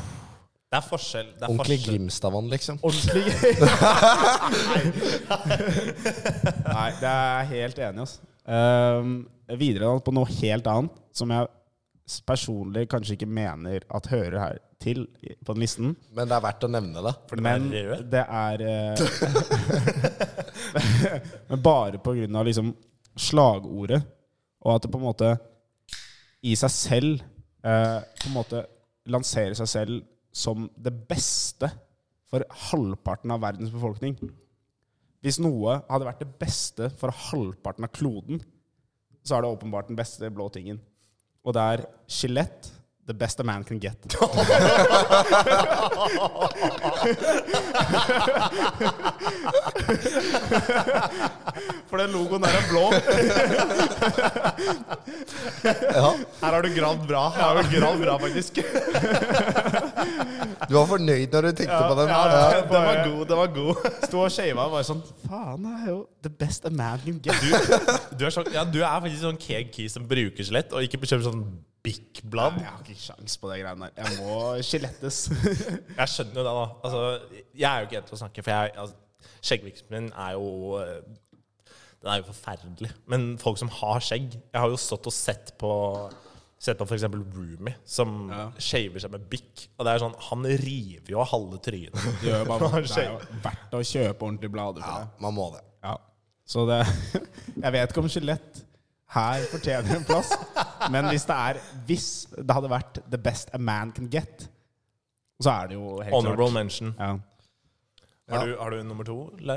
Speaker 6: Det er forskjell. Det er
Speaker 5: Sånn Ordentlig
Speaker 6: forskjell.
Speaker 5: Grimstadvann, liksom.
Speaker 4: Ordentlig Nei, det er jeg helt enig i. ass. Ehm, videre da, på noe helt annet, som jeg s- personlig kanskje ikke mener at hører her til i- på den listen.
Speaker 5: Men det er verdt å nevne det.
Speaker 6: For den er
Speaker 4: Men
Speaker 6: rød.
Speaker 4: det er eh, Men bare på grunn av liksom slagordet, og at det på en måte i seg selv eh, på en måte lanserer seg selv som det beste for halvparten av verdens befolkning. Hvis noe hadde vært det beste for halvparten av kloden, så er det åpenbart den beste blå tingen. Og det er skjelett. The best a man can get. For den logoen der er blå.
Speaker 5: Ja,
Speaker 6: Her har du gravd bra. Her har du gravd bra, faktisk.
Speaker 5: Du var fornøyd når du tenkte på den. Ja.
Speaker 6: Den var god, den var god.
Speaker 4: Sto og shava og var sånn Faen, det er jo the best a man can get.
Speaker 6: Du er, sånn, ja, du er faktisk sånn keg key som bruker skjelett, og ikke kjøper sånn Bic-blad.
Speaker 4: Jeg har ikke sjans på de greiene der. Jeg må skjelettes.
Speaker 6: Jeg skjønner jo det, da. Altså, jeg er jo ikke en til å snakke, for jeg altså, Skjeggveksten min er jo eh, Den er jo forferdelig. Men folk som har skjegg Jeg har jo stått og sett på Sett på f.eks. Roomy, som shaver seg med Bic. Og det er sånn, han river jo av halve trynet.
Speaker 4: Det er jo
Speaker 6: bare-
Speaker 4: verdt å kjøpe ordentlige blader for
Speaker 5: Ja,
Speaker 4: det.
Speaker 5: man må det.
Speaker 4: Ja. Så det Jeg vet ikke om skjelett her fortjener en plass, men hvis det er Hvis det hadde vært the best a man can get, så er det jo helt
Speaker 6: Honorable
Speaker 4: klart.
Speaker 6: mention.
Speaker 4: Ja.
Speaker 6: Har, du, har du nummer to, Lau?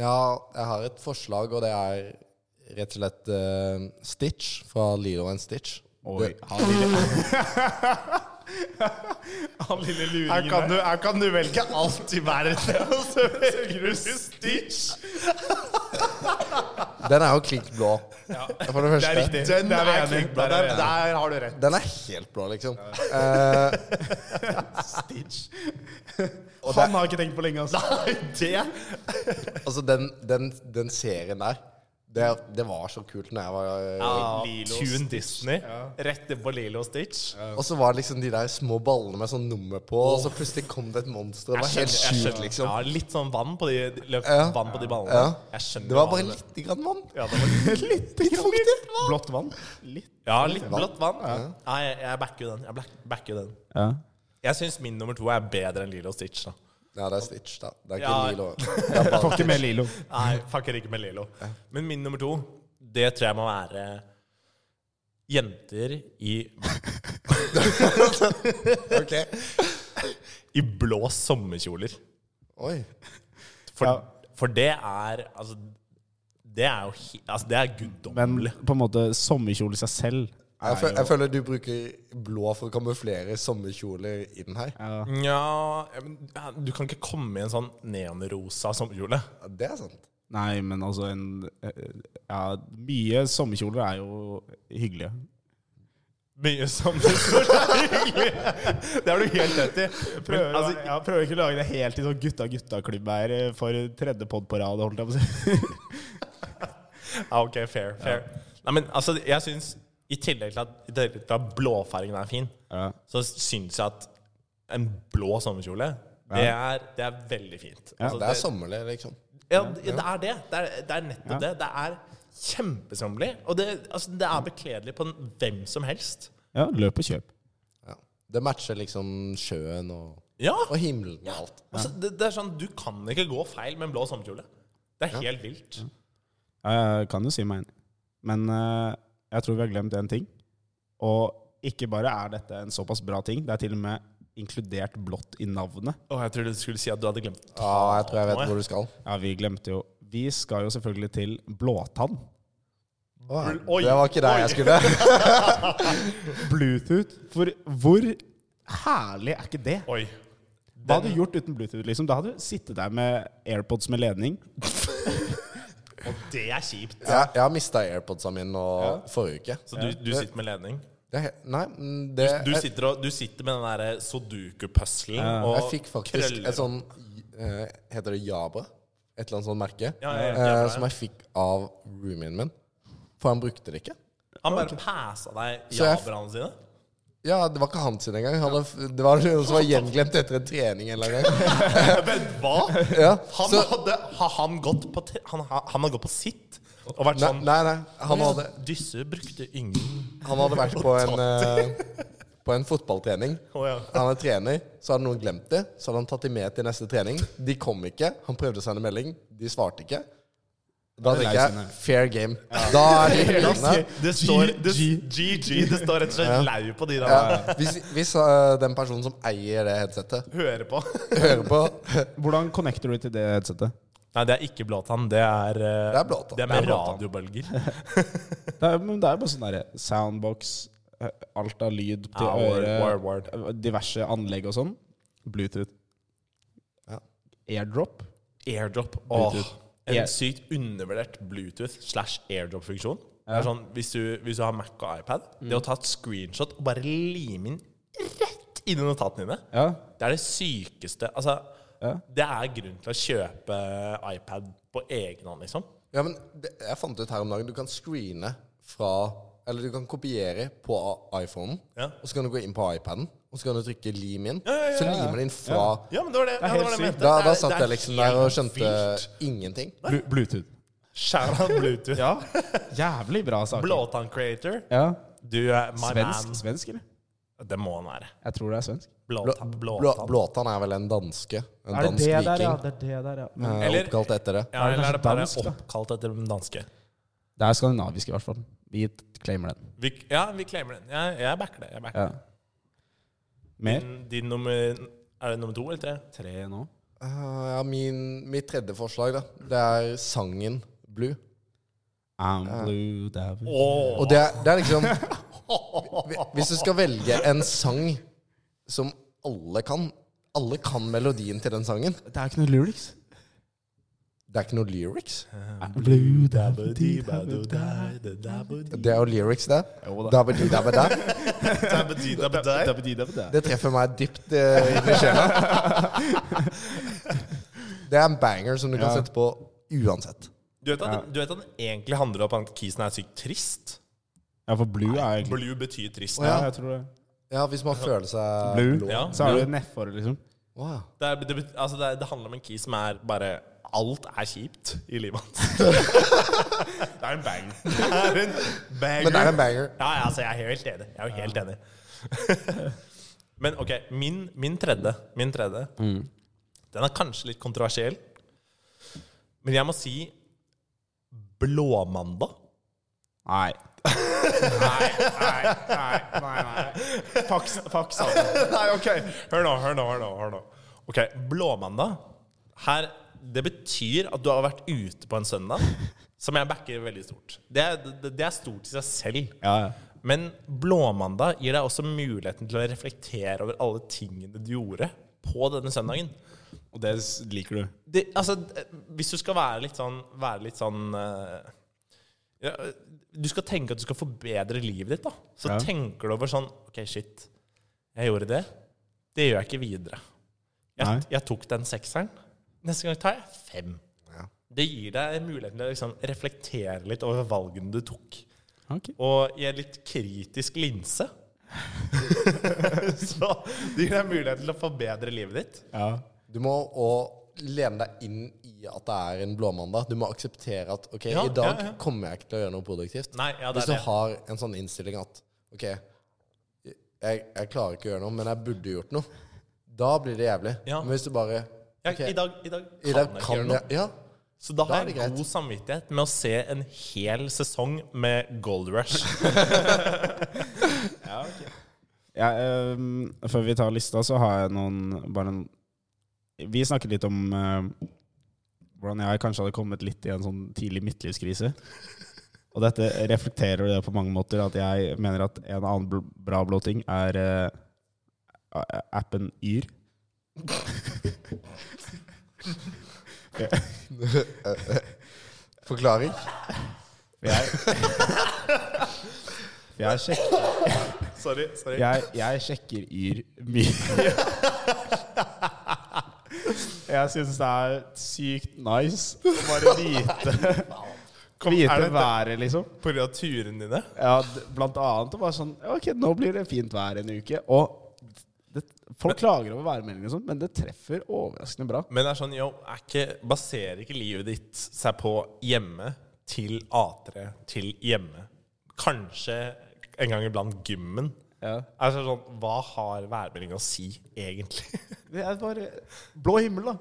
Speaker 5: Ja, jeg har et forslag, og det er rett og slett eh, Stitch fra Lilo and Stitch.
Speaker 4: Oi,
Speaker 5: Det-
Speaker 4: han lille,
Speaker 6: Han lille
Speaker 3: Her
Speaker 6: luringen
Speaker 3: kan, du, her kan du velge alt i verden, og så velger du Stitch!
Speaker 5: Den er jo klink blå. For det første.
Speaker 6: Det er riktig.
Speaker 3: Den
Speaker 6: Der
Speaker 3: er,
Speaker 6: er vi enige.
Speaker 3: klinkblå.
Speaker 6: Der er vi
Speaker 3: Der,
Speaker 6: enige.
Speaker 3: der har du rett.
Speaker 5: Den er helt blå, liksom. Eh,
Speaker 3: Stitch.
Speaker 5: og det,
Speaker 3: Han har ikke tenkt på lenge, altså. Nei, det
Speaker 5: altså, den, den, den serien der det, det var så kult når jeg var øh,
Speaker 6: Lilo Tune Disney. Rett på Lilo Stitch.
Speaker 5: Og så var det liksom de der små ballene med sånn nummer på, og så plutselig kom det et monster. Det var helt sjukt, liksom.
Speaker 6: Ja, litt sånn vann på de, løp,
Speaker 5: Ja.
Speaker 6: vann på de ballene.
Speaker 5: Ja.
Speaker 6: Jeg skjønner
Speaker 5: Det var
Speaker 6: hva
Speaker 5: bare
Speaker 6: han-
Speaker 5: lite grann vann.
Speaker 6: Ja, det var litt,
Speaker 5: Litt fuktig.
Speaker 3: Blått vann. Litt.
Speaker 6: ja, litt blått vann. Nei, jeg, jeg backer jo den. Jeg black- backer jo den.
Speaker 4: ja.
Speaker 6: Jeg syns min nummer to er bedre enn Lilo Stitch. da
Speaker 5: Ja, det er Stitch, da. Det er ikke
Speaker 6: Ja.
Speaker 5: Lilo. Det er bare
Speaker 3: Ikke med Lilo.
Speaker 6: Nei, fucker ikke med Lilo. Men min nummer to, det tror jeg må være jenter i,
Speaker 5: Ok.
Speaker 6: i blå sommerkjoler.
Speaker 5: Oi.
Speaker 6: For, for det er Altså, det er jo he- altså, Det er
Speaker 4: Men
Speaker 6: guddommelig.
Speaker 4: på en måte sommerkjole i seg selv
Speaker 5: Jeg, føl jeg føler du bruker blå for å kamuflere sommerkjoler inn her.
Speaker 6: Nja men, ja, Du kan ikke komme i en sånn neonrosa sommerkjole.
Speaker 5: Ja, Det er sant.
Speaker 4: Nei, men altså en Ja, mye sommerkjoler er jo hyggelige.
Speaker 6: Mye sommerkjole er hyggelig! Det har du helt rett i.
Speaker 3: Prøver,
Speaker 6: Men, altså,
Speaker 3: ja, prøver ikke å lage det helt i sånn gutta-gutta-klubb her eh, for tredje pod på rad, holdt jeg på å si.
Speaker 6: Ja, Ah, ok, fair, fair. Nei, men altså, jeg synes i tillegg til at, i tillegg til at blåfargen er fin, så synes jeg at en blå sommerkjole, det er, det er veldig fint. Altså,
Speaker 5: Det er sommerlig, liksom.
Speaker 6: ja, det det er det. Det er, det er nettopp det. Det er kjempesommerlig, og det, altså, det er bekledelig på en, hvem som helst.
Speaker 4: Ja, løp og kjøp.
Speaker 5: Ja. Det matcher liksom sjøen og,
Speaker 6: Ja,
Speaker 5: og himmelen og alt.
Speaker 6: altså, det, det er sånn, du kan ikke gå feil med en blå sommerkjole. Det er helt vilt.
Speaker 4: Ja, Jeg kan jo si meg enig. Men eh, jeg tror vi har glemt én ting. Og ikke bare er dette en såpass bra ting, det er til og med inkludert blått i navnet.
Speaker 6: Åh, jeg trodde du skulle si at du hadde glemt
Speaker 5: Ja, jeg tror jeg vet hvor du skal.
Speaker 4: Ja, vi glemte jo Vi skal jo selvfølgelig til Blåtann.
Speaker 5: Å, ja.
Speaker 6: Oi,
Speaker 5: det var ikke der jeg skulle.
Speaker 3: Bluetooth. For hvor herlig er ikke det?
Speaker 6: Oi.
Speaker 4: Hva hadde du gjort uten Bluetooth? liksom? Da hadde du sittet der med AirPods med ledning.
Speaker 6: Og det er kjipt.
Speaker 5: Jeg, jeg har mista airpodsa mine nå forrige uke.
Speaker 6: Så du, du sitter med ledning?
Speaker 5: Det, er he- nei, mm, det
Speaker 6: Du
Speaker 5: jeg,
Speaker 6: sitter, og, du sitter med den der eh, sudoku-puzzlen og
Speaker 5: jeg fikk faktisk
Speaker 6: krøller.
Speaker 5: et sånn eh, Heter det Jabra? Et eller annet sånt merke.
Speaker 6: Ja, ja, ja,
Speaker 5: eh,
Speaker 6: Jabra, ja.
Speaker 5: Som jeg fikk av roomien min. For han brukte det ikke.
Speaker 6: Han bare passa deg
Speaker 5: Så jeg-
Speaker 6: jabraene sine?
Speaker 5: Ja, Det var ikke hans sin engang. Han hadde, det var noen som var gjenglemt etter en trening. en Eller en gang.
Speaker 6: Vent, hva?!
Speaker 5: Ja,
Speaker 6: Han
Speaker 5: så,
Speaker 6: hadde har han gått på te, han, har- han har gått på sitt og vært
Speaker 5: nei,
Speaker 6: sånn
Speaker 5: nei, nei. Han hadde,
Speaker 6: Disse brukte ingen
Speaker 5: han hadde vært på en, eh, på en fotballtrening.
Speaker 6: Å, ja.
Speaker 5: Han er trener, så hadde noen glemt det. Så hadde han tatt de med til neste trening. De kom ikke. Han prøvde å sende melding. De svarte ikke. Da tenker jeg fair game. Da er de hyllene.
Speaker 6: Det står det, GG. Det står rett og slett lau på de der
Speaker 5: Ja. Hvis, hvis eh, den personen som eier det headsetet,
Speaker 6: hører på.
Speaker 5: hører på
Speaker 4: Hvordan connecter du til det headsetet?
Speaker 6: Nei, det er ikke blåtann. Det er eh,
Speaker 5: Det er blåtann.
Speaker 6: Det er med radiobølger.
Speaker 4: Det er, men det er bare sånn derre soundbox, eh, alt av lyd til
Speaker 6: Ja, word,
Speaker 4: øret,
Speaker 6: word, word.
Speaker 4: eh, diverse anlegg og sånn. Bluetooth.
Speaker 5: Ja.
Speaker 4: Airdrop.
Speaker 6: Airdrop. Åh,
Speaker 4: Bluetooth.
Speaker 6: en
Speaker 4: Air-
Speaker 6: sykt undervurdert Bluetooth slash airdrop-funksjon. Det er Sånn, hvis, du, hvis du har Mac og iPad,
Speaker 5: Mm.
Speaker 6: det å ta et screenshot og bare lime inn rett inn i notatene dine,
Speaker 4: Ja.
Speaker 6: det er det sykeste Altså,
Speaker 4: Ja.
Speaker 6: det er grunn til å kjøpe iPad på egen hånd, liksom.
Speaker 5: Ja, men det, jeg fant ut her om dagen Du kan screene fra Eller du kan kopiere på iPhonen,
Speaker 6: Ja.
Speaker 5: og så kan du gå inn på iPaden, og så kan du trykke lim inn. Så limer det inn fra
Speaker 6: Ja, men det var det, ja, det,
Speaker 4: helt
Speaker 6: var det jeg
Speaker 4: sykt.
Speaker 6: mente.
Speaker 5: Da,
Speaker 6: Det
Speaker 5: da
Speaker 6: er-
Speaker 5: satt
Speaker 6: det er
Speaker 5: jeg liksom der og
Speaker 6: helt
Speaker 5: skjønte
Speaker 6: vilt.
Speaker 5: ingenting.
Speaker 4: Blu- Bluetooth.
Speaker 6: Shout out Bluetooth.
Speaker 4: Ja. Jævlig bra saker.
Speaker 6: Blåtann creator.
Speaker 4: Ja.
Speaker 6: Du er my
Speaker 4: Svensk, svensk, eller?
Speaker 6: man. Det må han være.
Speaker 4: Jeg tror det er svensk.
Speaker 6: Blåtann.
Speaker 5: Blå,
Speaker 6: blåtann.
Speaker 5: Blåtann er vel en danske? En dansk viking?
Speaker 4: Det er det der, ja.
Speaker 5: eh,
Speaker 6: Eller-
Speaker 5: Oppkalt etter det.
Speaker 6: Ja, eller er det bare
Speaker 4: Dansk, da.
Speaker 6: oppkalt etter den danske?
Speaker 4: Det er skandinavisk, i hvert fall. Vi claimer den.
Speaker 6: Vi, ja, vi claimer den. Jeg, jeg backer det. Jeg backer
Speaker 4: Ja. Mer?
Speaker 6: det. Din nummer Er det nummer to eller tre?
Speaker 4: Tre nå.
Speaker 5: Eh, ja, min, mitt tredje forslag, da, det er sangen Blue.
Speaker 4: I'm blue devil.
Speaker 5: Og det er, det er liksom Hvis du skal velge en sang som alle kan Alle kan melodien til den sangen.
Speaker 4: Det er ikke noe lyrics.
Speaker 5: Det er ikke noe lyrics.
Speaker 4: Blue
Speaker 5: Det er jo lyrics, det. Dabadi, dabada.
Speaker 6: Dabba-dee-dabba-dee.
Speaker 5: Det treffer meg dypt eh, inn i sjela. Det er en banger som du kan sette på uansett.
Speaker 6: Du vet at, du vet at den egentlig handler om at Kisen er sykt trist?
Speaker 4: Ja, for blue er egentlig
Speaker 6: Blue betyr trist.
Speaker 5: ja.
Speaker 4: Ja, jeg tror det.
Speaker 5: Ja, hvis man føler seg
Speaker 4: Blue.
Speaker 6: Ja.
Speaker 4: Så er det nedfor, liksom.
Speaker 5: Wow.
Speaker 6: Det, er, det, bet- altså det, er, det handler om en kis som er bare Alt er kjipt i livet hans. det er en bang. Det er en banger.
Speaker 5: Men det er en banger.
Speaker 6: Ja, ja, altså, jeg er helt enig. Jeg er jo helt enig. Men ok, min, min tredje, min tredje Den er kanskje litt kontroversiell. Men jeg må si Blåmandag.
Speaker 4: Nei.
Speaker 6: Nei, ok. Hør nå, hør nå, hør nå. Hør nå. Ok, Blåmandag. Her, det betyr at du har vært ute på en søndag, som jeg backer veldig stort. Det er, det, det er stort i seg selv.
Speaker 4: Ja, ja.
Speaker 6: Men blåmandag gir deg også muligheten til å reflektere over alle tingene du gjorde på denne søndagen.
Speaker 4: Og det s- liker du.
Speaker 6: Det, altså, d- hvis du skal være litt sånn, være litt sånn eh, ja, Du skal tenke at du skal forbedre livet ditt, da. Så
Speaker 4: Ja.
Speaker 6: tenker du over sånn OK, shit. Jeg gjorde det. Det gjør jeg ikke videre.
Speaker 4: Nei.
Speaker 6: Jeg, jeg tok den sekseren. Neste gang tar jeg fem. Det gir deg muligheten til å liksom reflektere litt over valgene du tok.
Speaker 4: Ok.
Speaker 6: Og i en litt kritisk linse. Så det gir deg muligheten til å forbedre livet ditt.
Speaker 4: Ja.
Speaker 5: Du må òg lene deg inn i at det er en blåmandag. Du må akseptere at ok,
Speaker 6: Ja,
Speaker 5: i dag
Speaker 6: ja, ja.
Speaker 5: kommer jeg ikke til å gjøre noe produktivt.
Speaker 6: Nei, ja, det
Speaker 5: Hvis
Speaker 6: er
Speaker 5: du
Speaker 6: det.
Speaker 5: har en sånn innstilling at ok, jeg, jeg klarer ikke å gjøre noe, men jeg burde gjort noe, da blir det jævlig.
Speaker 6: Ja.
Speaker 5: Men hvis du bare
Speaker 6: Ja,
Speaker 5: ok,
Speaker 6: I dag, i dag kan
Speaker 5: i dag
Speaker 6: jeg ikke
Speaker 5: kan
Speaker 6: gjøre noe.
Speaker 5: jeg Ja.
Speaker 6: Så da
Speaker 5: Da
Speaker 6: har
Speaker 5: er det
Speaker 6: jeg
Speaker 5: greit.
Speaker 6: god samvittighet med å se en hel sesong med Gold Rush.
Speaker 4: Jeg, ehm, før vi tar lista, så har jeg noen bare en, Vi snakket litt om ehm, hvordan jeg kanskje hadde kommet litt i en sånn tidlig midtlivskrise. Og dette reflekterer det på mange måter, at jeg mener at en annen bl bra blåting er eh, a- appen Yr.
Speaker 5: Forklaring.
Speaker 4: For jeg, sjek
Speaker 6: Sorry. sorry.
Speaker 4: jeg, jeg sjekker Yr mye. Jeg syns det er sykt nice å bare vite
Speaker 6: Kom,
Speaker 4: Vite
Speaker 6: er det
Speaker 4: været, liksom.
Speaker 6: på grunn av turene dine?
Speaker 4: Ja, d- blant annet. Og bare sånn ja, Ok, nå blir det fint vær en uke. Og det, folk klager over værmeldingen og sånn, men det treffer overraskende bra.
Speaker 6: Men det er sånn, jo, er ikke, baserer ikke livet ditt seg på hjemme til A3 til hjemme? Kanskje en gang iblant gymmen?
Speaker 4: Ja.
Speaker 6: Altså sånn, Hva har værmeldingen å si, egentlig?
Speaker 4: Det er bare blå himmel, da.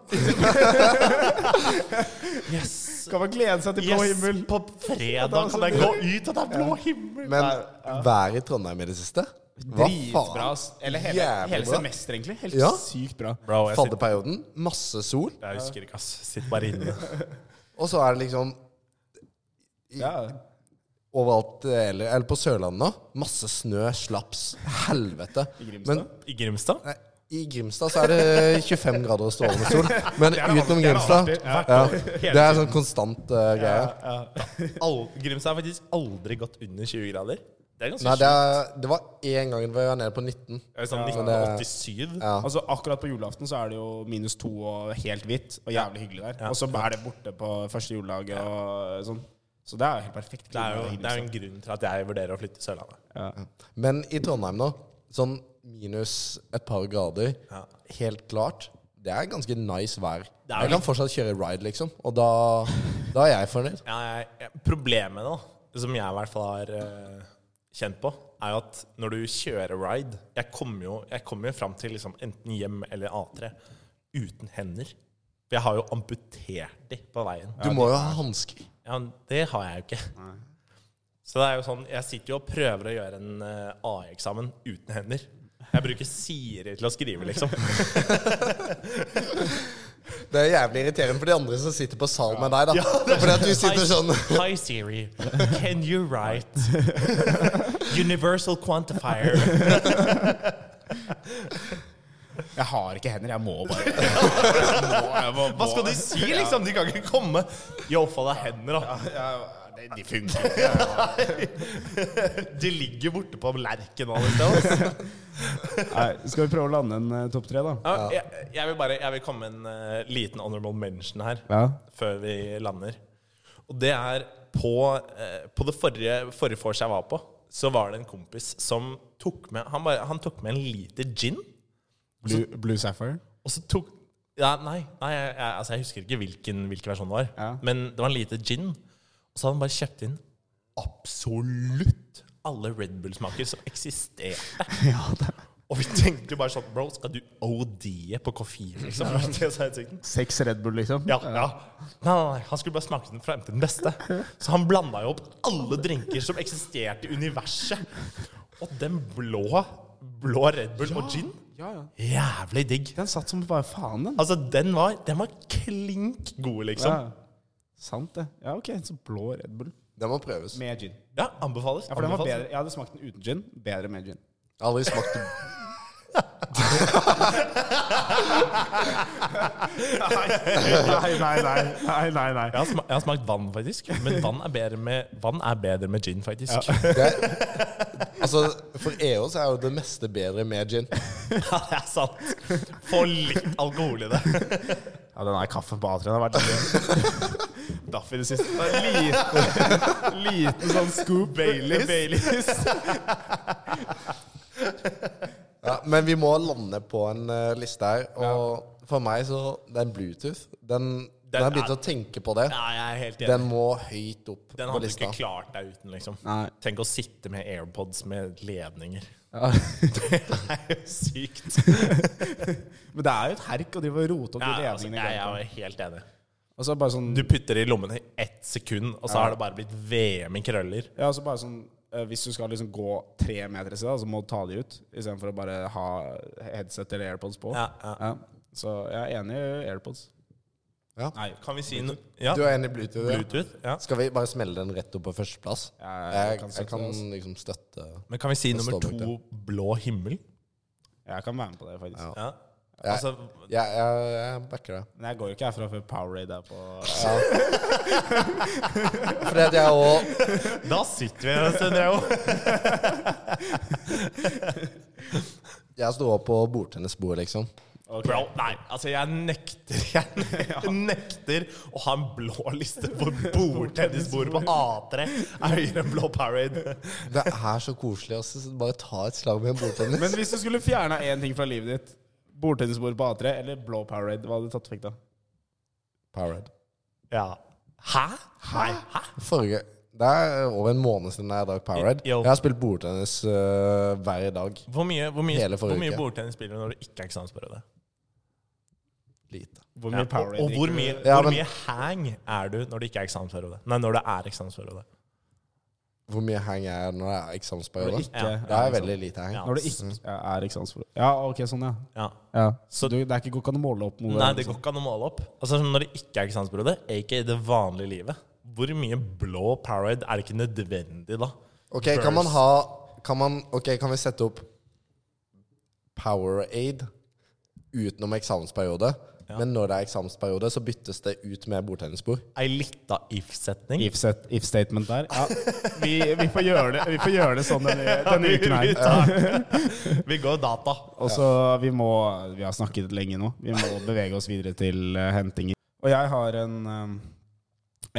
Speaker 6: Yes!
Speaker 4: Kan man glede seg til blå
Speaker 6: yes
Speaker 4: himmel?
Speaker 6: på fredag kan jeg gå ut, og det er blå himmel!
Speaker 5: Men været i Trondheim i det siste Hva
Speaker 4: Dritbra.
Speaker 5: faen?
Speaker 4: ass. Eller hele, hele
Speaker 5: Jævlig bra.
Speaker 4: semesteret, egentlig. Helt
Speaker 5: Ja.
Speaker 4: sykt bra.
Speaker 6: Bro, jeg, sitter,
Speaker 5: Fadderperioden, masse sol,
Speaker 6: jeg husker ikke, ass. Sitt bare inne.
Speaker 5: og så er det liksom
Speaker 4: Ja.
Speaker 5: overalt eller, eller på Sørlandet nå. Masse snø, slaps, helvete. I Grimstad? Men,
Speaker 6: I Grimstad?
Speaker 5: nei, I Grimstad så er det 25 grader og strålende sol. Men utenom Grimstad ja, Det er sånn konstant eh, greie.
Speaker 6: Al Grimstad har faktisk aldri gått under 20 grader. Det er ganske
Speaker 5: Nei, det,
Speaker 6: sjukt.
Speaker 5: er, det var én gang vi var nede på 19.
Speaker 6: Det er sånn
Speaker 5: men
Speaker 6: 1987.
Speaker 4: Altså Akkurat på julaften så er det jo minus to og helt hvitt og jævlig hyggelig der. Og så er det borte på første juledag og sånn. Så det er jo helt perfekt. liksom.
Speaker 6: Det er jo
Speaker 4: klima,
Speaker 6: det er jo en grunn til at jeg vurderer å flytte til Sørlandet.
Speaker 5: Men i Trondheim nå, sånn minus et par grader, helt klart Det er ganske nice vær.
Speaker 6: er
Speaker 5: Jeg
Speaker 6: vel-
Speaker 5: kan fortsatt kjøre ride, liksom. Og da, da er jeg fornøyd.
Speaker 6: Ja, jeg, jeg, problemet da, som jeg i hvert fall har eh, kjent på, er jo at når du kjører ride Jeg kommer jo, jeg kommer jo fram til liksom enten hjem eller A3 uten hender. For jeg har jo amputert de på veien.
Speaker 5: Du må jo ha hansker.
Speaker 6: Ja, men det har jeg jo ikke. Så det er jo sånn, jeg sitter jo og prøver å gjøre en eh, AI-eksamen uten hender. Jeg bruker Siri til å skrive, liksom.
Speaker 5: Det er jævlig irriterende for de andre som sitter på sal med deg. da Fordi at du sitter sånn
Speaker 6: Hi, Siri. Can you write universal quantifier?
Speaker 4: Jeg har ikke hender, jeg må bare.
Speaker 6: Hva skal de si, liksom? De kan ikke komme. Yo, få deg hender, da.
Speaker 4: De funker.
Speaker 6: De ligger borte på lerken alle steder. altså. ass.
Speaker 4: Nei, skal vi prøve å lande en eh, topp tre, da?
Speaker 6: Ja, jeg, jeg vil bare jeg vil komme med en eh, liten honorable mention her.
Speaker 4: Ja.
Speaker 6: før vi lander. Og det er på, eh, på det forrige, forrige vors jeg var på, så var det en kompis som tok med Han, bare, han tok med en liter gin,
Speaker 4: Blue, Blue Sapphire?
Speaker 6: og så tok ja, Nei, nei jeg, jeg, altså jeg husker ikke hvilken, hvilken versjon det var,
Speaker 4: Ja.
Speaker 6: men det var en liter gin. Og så hadde han bare kjøpt inn absolutt alle Red Bull-smaker som eksisterte. Og vi tenkte jo bare sånn Bro, skal du OD-e på koffein, liksom? Det er så helt sykt.
Speaker 4: Seks Red Bull, liksom?
Speaker 6: Ja, ja. Nei, nei, nei, han skulle bare smake den frem til den beste. Så han blanda jo opp alle drinker som eksisterte i universet. Og den blå, blå Red Bull og gin
Speaker 4: Ja, ja.
Speaker 6: Jævlig digg.
Speaker 4: Den satt som bare faen, den.
Speaker 6: Altså, den var, den var klink god, liksom.
Speaker 4: Ja. Sant, det. Ja, ok. Så blå Red Bull.
Speaker 5: Det må prøves. Jeg
Speaker 4: Med gin.
Speaker 6: Ja, anbefales.
Speaker 4: Ja, for den var
Speaker 6: anbefales.
Speaker 4: bedre. Jeg hadde smakt den uten gin. Bedre med gin.
Speaker 5: har aldri smakt det.
Speaker 4: Nei, nei, nei. nei, nei, nei.
Speaker 6: Jeg har, sma jeg har smakt vann, faktisk. Men vann er bedre med, vann er bedre med gin, faktisk.
Speaker 5: Altså, For EO så er jo det meste bedre med gin.
Speaker 6: Ja, det er sant. Få litt alkohol i det.
Speaker 4: Ja, den der kaffen på A3 har vært Daff i det siste. Det er liten, liten sånn scoop Baileys.
Speaker 5: Ja, men vi må lande på en eh, liste her. Og for meg så Den Bluetooth Den, den har jeg begynt
Speaker 6: er-
Speaker 5: å tenke på det.
Speaker 6: Ja, jeg er helt enig.
Speaker 5: Den må høyt opp
Speaker 6: Den
Speaker 5: på
Speaker 6: hadde du
Speaker 5: lista.
Speaker 6: ikke klart deg uten, liksom.
Speaker 4: Nei.
Speaker 6: Tenk å sitte med AirPods med ledninger.
Speaker 4: Ja.
Speaker 6: Det er jo sykt.
Speaker 4: Men det er jo et herk å drive og rote opp
Speaker 6: Ja,
Speaker 4: de
Speaker 6: altså,
Speaker 4: ledningene. i
Speaker 6: jeg er
Speaker 4: gangen.
Speaker 6: jo helt enig.
Speaker 4: Og så bare sånn,
Speaker 6: Du putter det i lommen i ett sekund, og så har det bare blitt VM i krøller.
Speaker 4: ja, og så bare sånn eh, Hvis du skal liksom gå tre meter i stedet, så må du ta de ut. Istedenfor å bare ha headset eller AirPods på.
Speaker 6: Ja, ja.
Speaker 4: Så jeg er enig i AirPods.
Speaker 6: Kan vi si noe? Ja.
Speaker 5: Du er enig i Bluetooth? ja?
Speaker 6: Bluetooth? Ja.
Speaker 5: Skal vi bare smelle den rett opp på førsteplass?
Speaker 4: Ja, jeg
Speaker 5: Jeg,
Speaker 4: kan
Speaker 5: jeg
Speaker 4: støtte
Speaker 5: kan
Speaker 4: det, altså.
Speaker 5: liksom støtte
Speaker 6: Men kan vi si
Speaker 5: Jeg
Speaker 6: nummer
Speaker 5: står bak
Speaker 6: to blå himmel?
Speaker 4: Jeg kan være med på det, faktisk.
Speaker 5: Ja.
Speaker 6: Ja.
Speaker 5: Jeg-
Speaker 6: Altså,
Speaker 5: Jeg, jeg, jeg backer det.
Speaker 4: Men jeg går jo ikke herfra før Powerade er på.
Speaker 5: Fordi at jeg òg
Speaker 6: da sitter vi her en stund, Reo.
Speaker 5: Jeg sto opp på bordtennisbordet, liksom.
Speaker 6: Bro, nei, altså jeg nekter Jeg nekter å ha en blå liste på bordtennisbordet på A3 er høyere enn blå Parade.
Speaker 5: Det er så koselig. Altså. Bare ta et slag med en bordtennis.
Speaker 4: Men hvis du skulle fjerna én ting fra livet ditt, bordtennisbord på A3 eller blå Powerade, hva hadde du tatt vekk da?
Speaker 5: Powerade.
Speaker 6: Ja. Hæ? Hæ? Hæ?
Speaker 5: Forrige Det er over en måned siden jeg drakk Powerade.
Speaker 6: Jo.
Speaker 5: Jeg har spilt bordtennis øh, hver dag.
Speaker 6: Hvor mye, hvor mye,
Speaker 5: Hele forrige
Speaker 6: hvor mye
Speaker 5: uke.
Speaker 6: bordtennis spiller du når du ikke er eksamensprøve?
Speaker 5: Lite.
Speaker 4: Hvor
Speaker 6: Ja,
Speaker 4: mye
Speaker 6: og,
Speaker 4: Powerade
Speaker 6: og hvor, mye,
Speaker 5: Ja,
Speaker 6: hvor
Speaker 5: men-
Speaker 6: mye hang er du når du ikke er eksamensprøve? Nei, når du er eksamensprøve.
Speaker 5: Hvor mye hang jeg er når det er
Speaker 4: Når
Speaker 5: eksamensperiode?
Speaker 4: du ikke,
Speaker 6: Ja.
Speaker 5: Det er veldig lite hang.
Speaker 6: Ja.
Speaker 4: når du ikke ja, er eksamensprøve. Ja, ok, sånn, ja.
Speaker 6: Ja.
Speaker 4: ja.
Speaker 6: Så-
Speaker 4: Så du, det er ikke godt å måle opp noe?
Speaker 6: Nei, det
Speaker 5: liksom?
Speaker 6: går ikke an å måle opp. Altså sånn Når det ikke er eksamensprøve, ikke i det vanlige livet, hvor mye blå Powerade er det ikke nødvendig da?
Speaker 5: Ok, kan man ha kan man, Ok, kan vi sette opp Poweraid utenom eksamensperiode? Men når det er eksamensperiode, så byttes det ut med bordtennisbord.
Speaker 6: Ei lita if-setning.
Speaker 4: If-set- If-statement der. Ja. Vi, vi, får gjøre det, vi får gjøre det sånn denne, denne uken
Speaker 6: Vi
Speaker 4: her.
Speaker 6: tar- Vi går data.
Speaker 4: Og så vi må Vi har snakket lenge nå. Vi må bevege oss videre til eh, hentinger. Og jeg har en eh,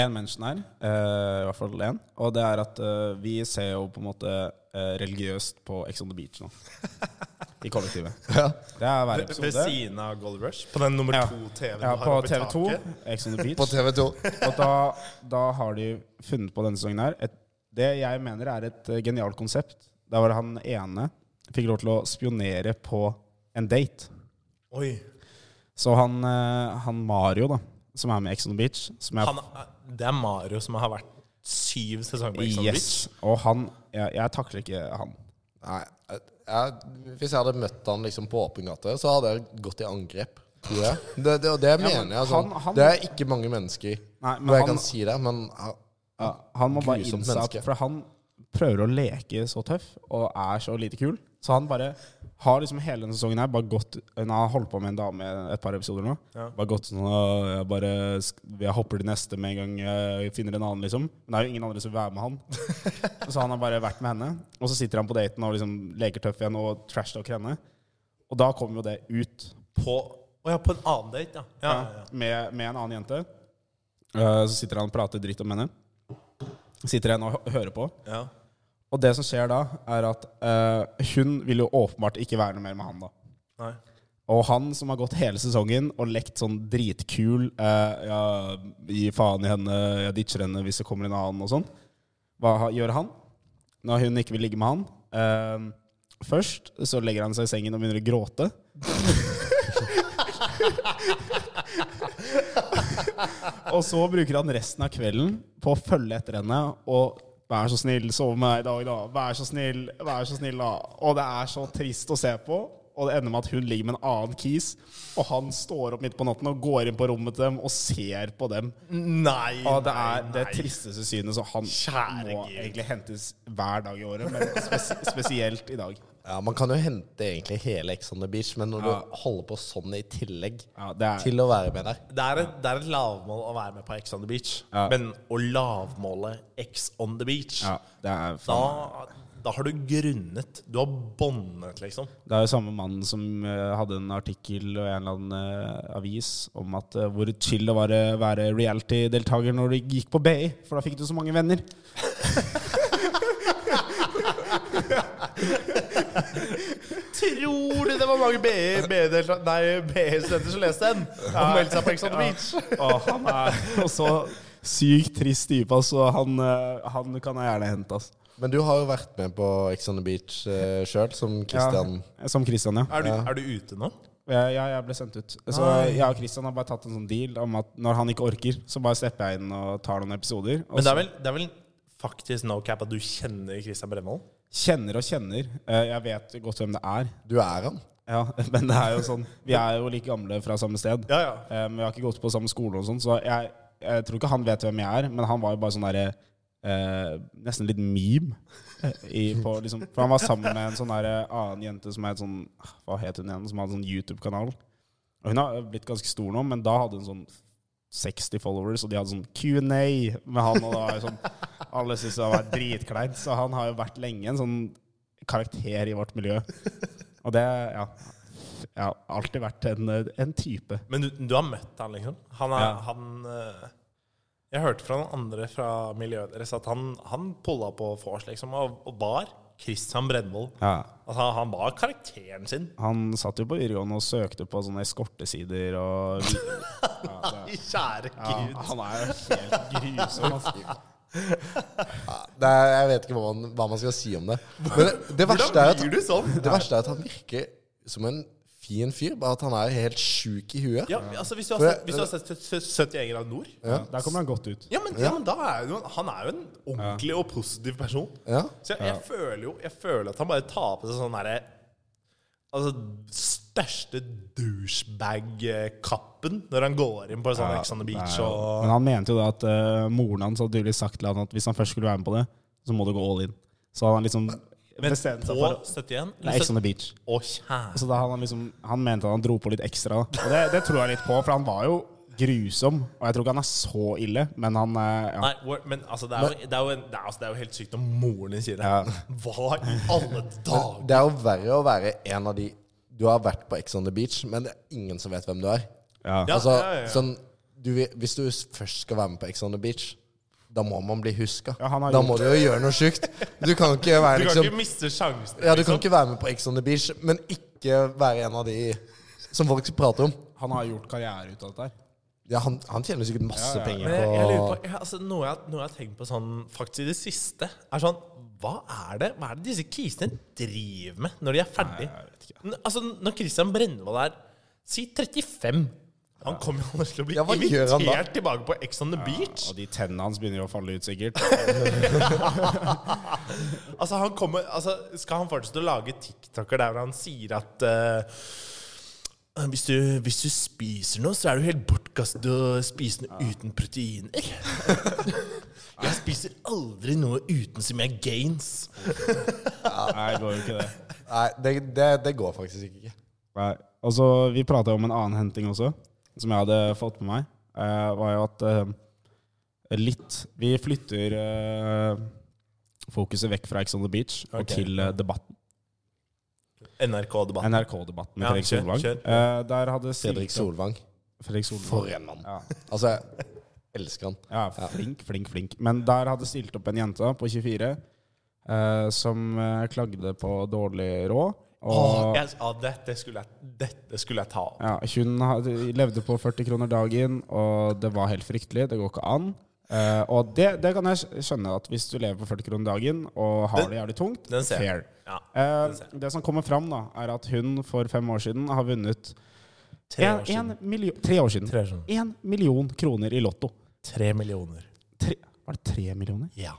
Speaker 4: En mention her. eh, I hvert fall én. Og det er at eh, vi ser jo på en måte eh, religiøst på Ex on the Beach nå. I kollektivet. Det er hver
Speaker 6: Ved
Speaker 4: episode.
Speaker 6: siden av Gold Rush. På den nummer
Speaker 4: Ja.
Speaker 6: to-TV-en
Speaker 4: Ja,
Speaker 6: du
Speaker 4: på
Speaker 6: har oppi
Speaker 4: TV 2.
Speaker 6: taket.
Speaker 4: Ex on the Beach.
Speaker 5: På TV2.
Speaker 4: Og da, da har de funnet på denne sesongen her et, det jeg mener er et eh, genialt konsept. Der var det han ene fikk lov til å spionere på en date.
Speaker 6: Oi.
Speaker 4: Så han, eh, han Mario, da, som er med i Ex on the Beach som er,
Speaker 6: Han, er- det er Mario som har vært syv sesonger på Ex on the
Speaker 4: yes,
Speaker 6: Beach.
Speaker 4: Og han jeg, jeg takler ikke han.
Speaker 5: Nei, jeg, jeg, hvis jeg hadde møtt han liksom på åpen gate, så hadde jeg gått i angrep. tror jeg. Det, det, og det mener jeg. Altså,
Speaker 4: han- han-
Speaker 5: det er ikke mange mennesker
Speaker 4: Nei, men
Speaker 5: hvor jeg
Speaker 4: han-
Speaker 5: kan si det, men ja,
Speaker 4: Ja, han må bare
Speaker 5: Grusomt
Speaker 4: innse at
Speaker 5: menneske.
Speaker 4: For han prøver å leke så tøff og er så lite kul. Så han bare har liksom hele denne sesongen her bare gått Han har holdt på med en dame et par episoder nå. Bare gått sånn «Åh, jeg bare sk- Jeg hopper til neste med en gang jeg finner en annen, liksom. Men det er jo ingen andre som vil være med han. så han har bare vært med henne. Og så sitter han på daten og liksom leker tøff igjen og trash talker henne. Og da kommer jo det ut
Speaker 6: På, å ja, på en annen date, ja. ja, ja, ja.
Speaker 4: med, med en annen jente. Eh, så sitter han og prater dritt om henne. Sitter henne og hø- hører på.
Speaker 6: ja.
Speaker 4: Og det som skjer da, er at eh, hun vil jo åpenbart ikke være noe mer med han da.
Speaker 6: Nei.
Speaker 4: Og han som har gått hele sesongen og lekt sånn dritkul eh, ja, Gi faen i henne, jeg ditcher henne hvis det kommer en annen og sånn. Hva ha- gjør han? Når hun ikke vil ligge med han eh, Først så legger han seg i sengen og begynner å gråte. og så bruker han resten av kvelden på å følge etter henne og Vær så snill, sov med meg i dag, da. Vær så snill, vær så snill, da. Og det er så trist å se på. Og det ender med at hun ligger med en annen kis, og han står opp midt på natten og går inn på rommet til dem og ser på dem.
Speaker 6: Nei,
Speaker 4: Og det er
Speaker 6: nei,
Speaker 4: det
Speaker 6: nei.
Speaker 4: tristeste synet, så han
Speaker 6: Kjære
Speaker 4: må
Speaker 6: Gud.
Speaker 4: egentlig hentes hver dag i året, men spes spesielt i dag.
Speaker 5: ja, man kan jo hente egentlig hele Ex on the beach, men når du holder på sånn i tillegg
Speaker 4: Ja, det er,
Speaker 5: til å være med der
Speaker 6: Det er, et, det er et lavmål å være med på X on the beach,
Speaker 4: Ja.
Speaker 6: men å lavmåle X on the beach
Speaker 4: ja, det er, faen-
Speaker 6: da, da har du grunnet. Du har båndet, liksom.
Speaker 4: det er jo samme mannen som eh, hadde en artikkel og en eller annen eh, avis om at eh, hvor chill det var å være reality-deltaker når du gikk på BI, for da fikk du så mange venner.
Speaker 6: Tror du det var mange BE-studenter som leste den? Og meldte seg på X on the beach?
Speaker 4: Og han er jo så sykt trist type, altså. Han, eh, han kan jeg gjerne hente, altså.
Speaker 5: Men du har jo vært med på Ex on the beach uh, sjøl, som Christian.
Speaker 4: Ja, som Christian, ja.
Speaker 6: Er du, er du ute nå?
Speaker 4: Ja, ja, jeg ble sendt ut. Så jeg og Christian har bare tatt en sånn deal om at når han ikke orker, så bare stepper jeg inn og tar noen episoder. Og
Speaker 6: Men det er vel, det er vel faktisk no cap at du kjenner Christian Brennvold?
Speaker 4: så kjenner og kjenner. Eh, Jeg vet godt hvem det er.
Speaker 5: Du er han.
Speaker 4: Ja, men det er jo sånn Vi er jo like gamle fra samme sted.
Speaker 6: Ja, ja.
Speaker 4: Eh, Men vi har ikke gått på samme skole og sånn, så jeg, jeg tror ikke han vet hvem jeg er. Men han var jo bare sånn derre eh, Nesten litt meme. eh, I, på, liksom, for han var sammen med en sånn der, eh, annen jente som het sånn Hva het hun igjen? Som hadde sånn YouTube-kanal. Og hun har blitt ganske stor nå, men da hadde hun sånn 60 followers, og de hadde sånn Q&A med han, og da er jo sånn Alle syntes det var dritkleint, så han har jo vært lenge en sånn karakter i vårt miljø. Og det Ja. Jeg har alltid vært en, en type.
Speaker 6: Men du, du har møtt han, liksom? Han er
Speaker 4: Ja.
Speaker 6: han, eh, Jeg hørte fra noen andre fra miljøet deres at han, han pulla på vors liksom, og, og var Christian Brennvoll.
Speaker 4: Ja.
Speaker 6: At Altså, han, han var karakteren sin.
Speaker 4: Han satt jo på videregående og søkte på sånne eskortesider og
Speaker 6: I Kjære
Speaker 4: ja,
Speaker 6: gud.
Speaker 4: Han er jo helt grusom. ass.
Speaker 5: Det er, jeg vet ikke hva man, hva man skal si om det. Men det, det verste er at
Speaker 6: Hvordan blir du sånn?
Speaker 5: Det verste er at han virker som en fin fyr, bare at han er helt sjuk i huet.
Speaker 6: Ja, altså Hvis du har
Speaker 5: For
Speaker 6: sett,
Speaker 5: jeg-
Speaker 6: hvis du har sett 70 jegere av nord
Speaker 4: Der kommer han godt ut.
Speaker 6: ja men, ja, men da er jo Han er jo en ordentlig og positiv person.
Speaker 5: Ja.
Speaker 6: Så jeg, jeg føler jo Jeg føler at han bare tar på seg sånn derre Altså største douchebag-kappen når han går inn på en sånn Ex on the Beach og
Speaker 4: Men han mente jo da at eh, moren hans hadde tydeligvis sagt til han at hvis han først skulle være med på det, så må du gå all in. Så han liksom bestemte seg
Speaker 6: På
Speaker 4: for å-
Speaker 6: 71?
Speaker 4: Nei, Ex on the beach.
Speaker 6: Å, kjære
Speaker 4: sånn Så da han, liksom, han mente at han dro på litt ekstra. da. Og det, det tror jeg litt på, for han var jo grusom. Og jeg tror ikke han er så ille, men han eh, ja.
Speaker 6: Nei, hvor- men altså, det er jo, det er jo, en, det er, altså, det er jo helt sykt om moren din sier det. Hva i alle dager?
Speaker 5: Det er jo verre å være en av de Du har vært på Ex on the beach, men det er ingen som vet hvem du er.
Speaker 6: Ja,
Speaker 5: altså,
Speaker 6: ja, ja.
Speaker 5: Sånn, du, vil- hvis du først skal være med på Ex on the beach da må man bli huska.
Speaker 4: Ja, han har
Speaker 5: da
Speaker 4: gjort
Speaker 5: må du jo gjøre noe sjukt. Du kan ikke være
Speaker 6: Du kan
Speaker 5: liksom
Speaker 6: ikke miste sjansen.
Speaker 5: Ja, du
Speaker 6: liksom.
Speaker 5: kan ikke være med på Ex on the Beach, men ikke være en av de som folk prater om.
Speaker 4: Han har gjort karriere ut av dette her.
Speaker 5: Ja, han, han tjener sikkert masse penger
Speaker 6: Men
Speaker 5: på
Speaker 6: jeg, jeg lurer på, jeg, altså, noe, jeg, noe jeg har tenkt på sånn, faktisk i det siste, er sånn Hva er det Hva er det disse krisene driver med når de er ferdig? N- altså, når Christian Brennevold er Si 35. Han kommer jo aldri til å bli
Speaker 5: Ja, hva gjør han da?
Speaker 6: invitert tilbake på Ex on the Beach.
Speaker 4: Og de tennene hans begynner jo å falle ut, sikkert.
Speaker 6: Altså, han kommer, altså, skal han fortsette å lage TikToker der hvor han sier at eh, Hvis du, hvis du spiser noe, så er du helt bortkastet å spise noe uten proteiner. Jeg spiser aldri noe uten som jeg gains.
Speaker 4: Nei, det går jo ikke det.
Speaker 5: Nei, det, det, det går faktisk ikke.
Speaker 4: Nei. Og så Vi prata om en annen henting også, som jeg hadde fått med meg. eh, var jo at eh, litt Vi flytter eh, fokuset vekk fra Ex on the Beach og
Speaker 6: Ok.
Speaker 4: til eh, debatten.
Speaker 6: NRK-debatt.
Speaker 4: NRK-debatten med
Speaker 6: Ja,
Speaker 4: Fredrik
Speaker 6: kjør,
Speaker 4: Solvang.
Speaker 6: kjør.
Speaker 4: Eh, der hadde
Speaker 5: Fredrik
Speaker 4: Silke-
Speaker 5: Solvang.
Speaker 4: Fredrik Solvang.
Speaker 5: For en mann.
Speaker 4: Ja.
Speaker 5: Altså, jeg elsker han.
Speaker 4: Ja, flink, flink, flink. Men der hadde stilt opp en jente på 24 eh, som eh, klagde på dårlig råd. Og
Speaker 6: Jeg, ja, dette skulle jeg, dette skulle jeg ta opp.
Speaker 4: ja, hun hadde, levde på 40 kroner dagen, og det var helt fryktelig. Det går ikke an. Eh, og det, det kan jeg skjønne, at hvis du lever på 40 kroner dagen og har
Speaker 6: Den-
Speaker 4: det jævlig tungt,
Speaker 6: Den ser jeg.
Speaker 4: fair.
Speaker 6: Ja,
Speaker 4: Eh,
Speaker 6: den ser jeg.
Speaker 4: det som kommer fram, da, er at hun for fem år siden har vunnet
Speaker 6: Tre
Speaker 4: en-
Speaker 6: år
Speaker 4: en
Speaker 6: siden.
Speaker 4: million, tre år siden.
Speaker 6: Tre år siden.
Speaker 4: Én million kroner i Lotto.
Speaker 6: Tre millioner.
Speaker 4: Tre, var det tre millioner?
Speaker 6: Ja.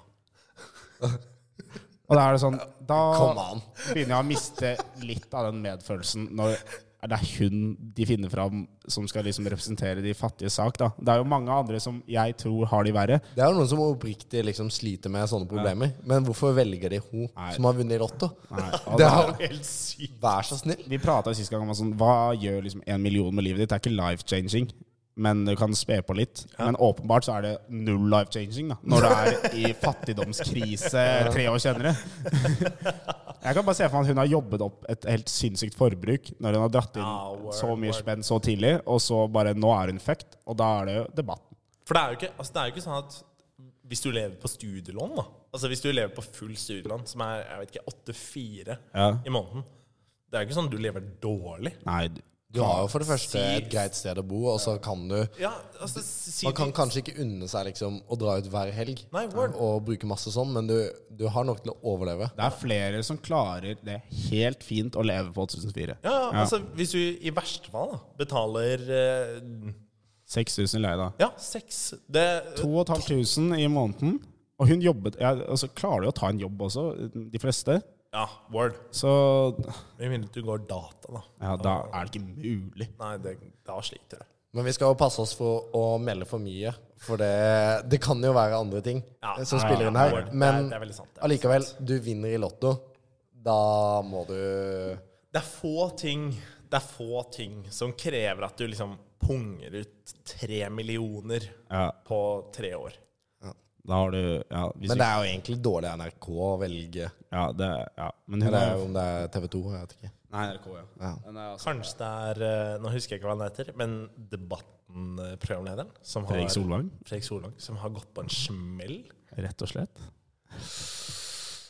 Speaker 4: Og da er det sånn Da
Speaker 5: Kom an.
Speaker 4: begynner jeg å miste litt av den medfølelsen når det er hun de finner fram som skal liksom representere de fattige sak. da. Det er jo mange andre som jeg tror har de verre.
Speaker 5: Det er jo noen som oppriktig liksom sliter med sånne problemer. Men hvorfor velger de hun som har vunnet i Lotto?
Speaker 4: og
Speaker 5: Det
Speaker 4: da-
Speaker 5: er jo
Speaker 6: Helt sykt.
Speaker 5: Vær så snill.
Speaker 4: Vi prata sist gang om at sånn, hva gjør liksom en million med livet ditt? Det er ikke life-changing, men det kan spe på litt. Men åpenbart så er det null life-changing da, når det er i fattigdomskrise tre år senere. Jeg kan bare se for meg at hun har jobbet opp et helt sinnssykt forbruk når hun har dratt inn
Speaker 6: Ah, word,
Speaker 4: så mye
Speaker 6: word.
Speaker 4: spenn så tidlig, og så bare nå er hun fucked, og da er det jo debatten.
Speaker 6: For det er jo ikke, altså det er jo ikke sånn at hvis du lever på studielån, da Altså hvis du lever på full studielån, som er jeg vet ikke, 8-4
Speaker 4: Ja.
Speaker 6: i måneden Det er jo ikke sånn at du lever dårlig.
Speaker 4: Nei,
Speaker 5: Du har jo for det første
Speaker 6: Si-
Speaker 5: et greit sted å bo, og så kan du
Speaker 6: Ja, altså si
Speaker 5: Man kan kanskje ikke unne seg liksom å dra ut hver helg
Speaker 6: Nei, word.
Speaker 5: og bruke masse sånn, men du, du har nok til å overleve.
Speaker 4: det er flere som klarer det helt fint å leve på 8004.
Speaker 6: ja, ja, altså Hvis du i verste fall da, betaler eh,
Speaker 4: 6000 i leie, da.
Speaker 6: ja, seks det,
Speaker 4: 2500 i måneden. Og hun jobbet ja, altså, Klarer du å ta en jobb også, de fleste?
Speaker 6: Ja, word.
Speaker 4: Så
Speaker 6: Med mindre du går data, da.
Speaker 4: ja, da er det ikke mulig.
Speaker 6: Nei, det, da sliter du.
Speaker 5: Men vi skal jo passe oss for å melde for mye, for det, det kan jo være andre ting
Speaker 6: Ja,
Speaker 5: som
Speaker 6: ja,
Speaker 5: spiller
Speaker 6: ja,
Speaker 5: inn
Speaker 6: det
Speaker 5: her.
Speaker 6: er-
Speaker 5: Men
Speaker 6: det er veldig sant, det er
Speaker 5: allikevel, du vinner i Lotto. Da må du
Speaker 6: Det er få ting Det er få ting som krever at du liksom punger ut tre millioner
Speaker 4: Ja,
Speaker 6: på tre år.
Speaker 4: da har du Ja, hvis
Speaker 5: Men
Speaker 4: ikke-
Speaker 5: det er jo egentlig dårlig av NRK å velge.
Speaker 4: ja, det, ja. Men hun
Speaker 5: Eller
Speaker 4: er
Speaker 6: Mm.
Speaker 4: jo
Speaker 5: om det er TV 2, jeg vet ikke.
Speaker 4: Nei, NRK, ja.
Speaker 6: Kanskje det er eh, Nå husker jeg ikke hva han heter, men Debatten-programlederen. som har-
Speaker 4: Fredrik Solvang,
Speaker 6: Fredrik Solvang, som har gått på en smell.
Speaker 4: rett og slett.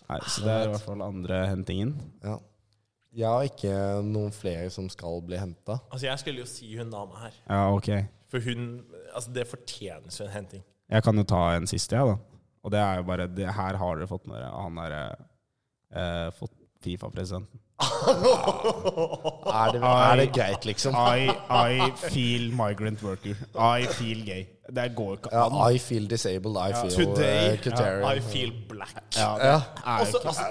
Speaker 4: Nei, så det er i hvert fall andre hentingen.
Speaker 5: Ja. Jeg har ikke noen flere som skal bli henta.
Speaker 6: Altså, jeg skulle jo si hun dama her.
Speaker 4: Ja, ok.
Speaker 6: For hun Altså, det fortjenes jo en henting.
Speaker 4: Jeg kan jo ta en siste, jeg, da. Og det er jo bare det, Her har dere fått med dere han derre eh, fått Fifa-presidenten.
Speaker 5: Er, det- er det greit, liksom?
Speaker 4: I, I feel migrant worker. I feel gay. Det går ikke an.
Speaker 5: Ja, I feel disabled, I feel
Speaker 4: eh,
Speaker 6: Today
Speaker 5: uh, Qatarian.
Speaker 6: I feel black.
Speaker 5: Ja.
Speaker 4: Er
Speaker 6: Også,
Speaker 4: ikke-
Speaker 6: altså,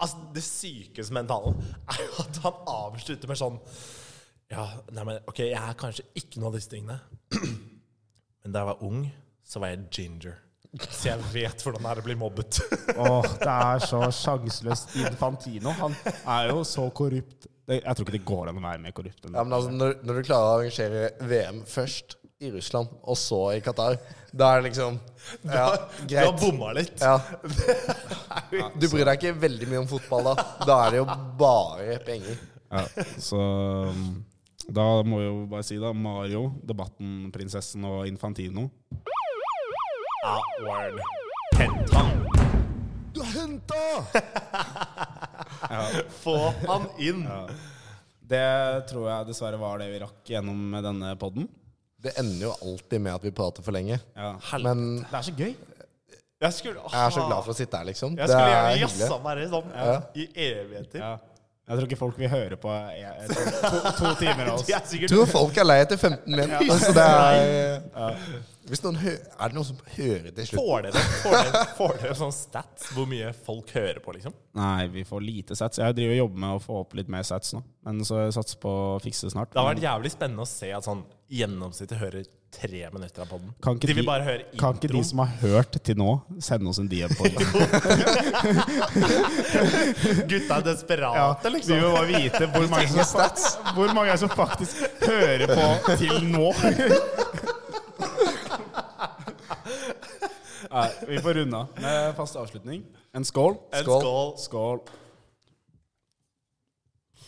Speaker 6: altså, det sykeste med den talen er jo at han avslutter med sånn Ja, nei, men ok, jeg er kanskje ikke noe av disse tingene, men da jeg var ung, så var jeg ginger. Så jeg vet hvordan det er å bli mobbet.
Speaker 4: Åh, det er så sjanseløst. Infantino, han er jo så korrupt. Det- Jeg tror ikke det går an å være mer korrupt enn
Speaker 5: Ja, men
Speaker 4: det.
Speaker 5: altså, når, når du klarer å arrangere VM først i Russland, og så i Qatar, da er det liksom Ja,
Speaker 6: Du har
Speaker 5: greit.
Speaker 6: bomma litt.
Speaker 5: Ja. Du bryr deg ikke veldig mye om fotball da. Da er det jo bare penger.
Speaker 4: Ja, så um, da må jeg jo bare si, da. Mario, Debatten, Prinsessen og Infantino.
Speaker 6: Ja, Ah, word. Hent han.
Speaker 5: Du har henta!
Speaker 6: Få han inn.
Speaker 4: Det tror jeg dessverre var det vi rakk gjennom med denne podden.
Speaker 5: Det ender jo alltid med at vi prater for lenge.
Speaker 4: Ja.
Speaker 5: Men
Speaker 4: Det er så gøy.
Speaker 6: Jeg, skulle,
Speaker 5: jeg er så glad for å sitte her, liksom.
Speaker 6: Jeg skulle
Speaker 5: er
Speaker 6: gjerne
Speaker 5: hyggelig.
Speaker 6: jazza meg sånn i evigheter.
Speaker 4: Ja. Jeg tror ikke folk vil høre på eh, to, to timer av oss.
Speaker 6: Jeg er sikkert
Speaker 5: Jeg tror folk er lei etter 15 min. Så det er Hvis noen hø er det noen som hører til slutt?
Speaker 6: Får dere, får dere, får dere sånn stats hvor mye folk hører på, liksom?
Speaker 4: Nei, vi får lite sats. Jeg driver og jobber med å få opp litt mer sats nå. Men så jeg satser på å fikse det snart.
Speaker 6: Det
Speaker 5: Mm.
Speaker 6: hadde vært jævlig spennende å se at sånn gjennomsnittet hører tre minutter av podden.
Speaker 4: Kan ikke
Speaker 6: de vil
Speaker 4: de-
Speaker 6: bare høre
Speaker 4: Kan ikke de
Speaker 6: introen.
Speaker 4: som har hørt til nå, sende oss en DM på det?
Speaker 6: Gutta er desperate,
Speaker 3: Vi
Speaker 6: liksom.
Speaker 3: vil bare vite hvor mange, som, fa- hvor mange er som faktisk hører på til nå.
Speaker 4: Nei, vi får runde av med fast avslutning. En skål.
Speaker 6: Eh, En skål.
Speaker 4: Skål.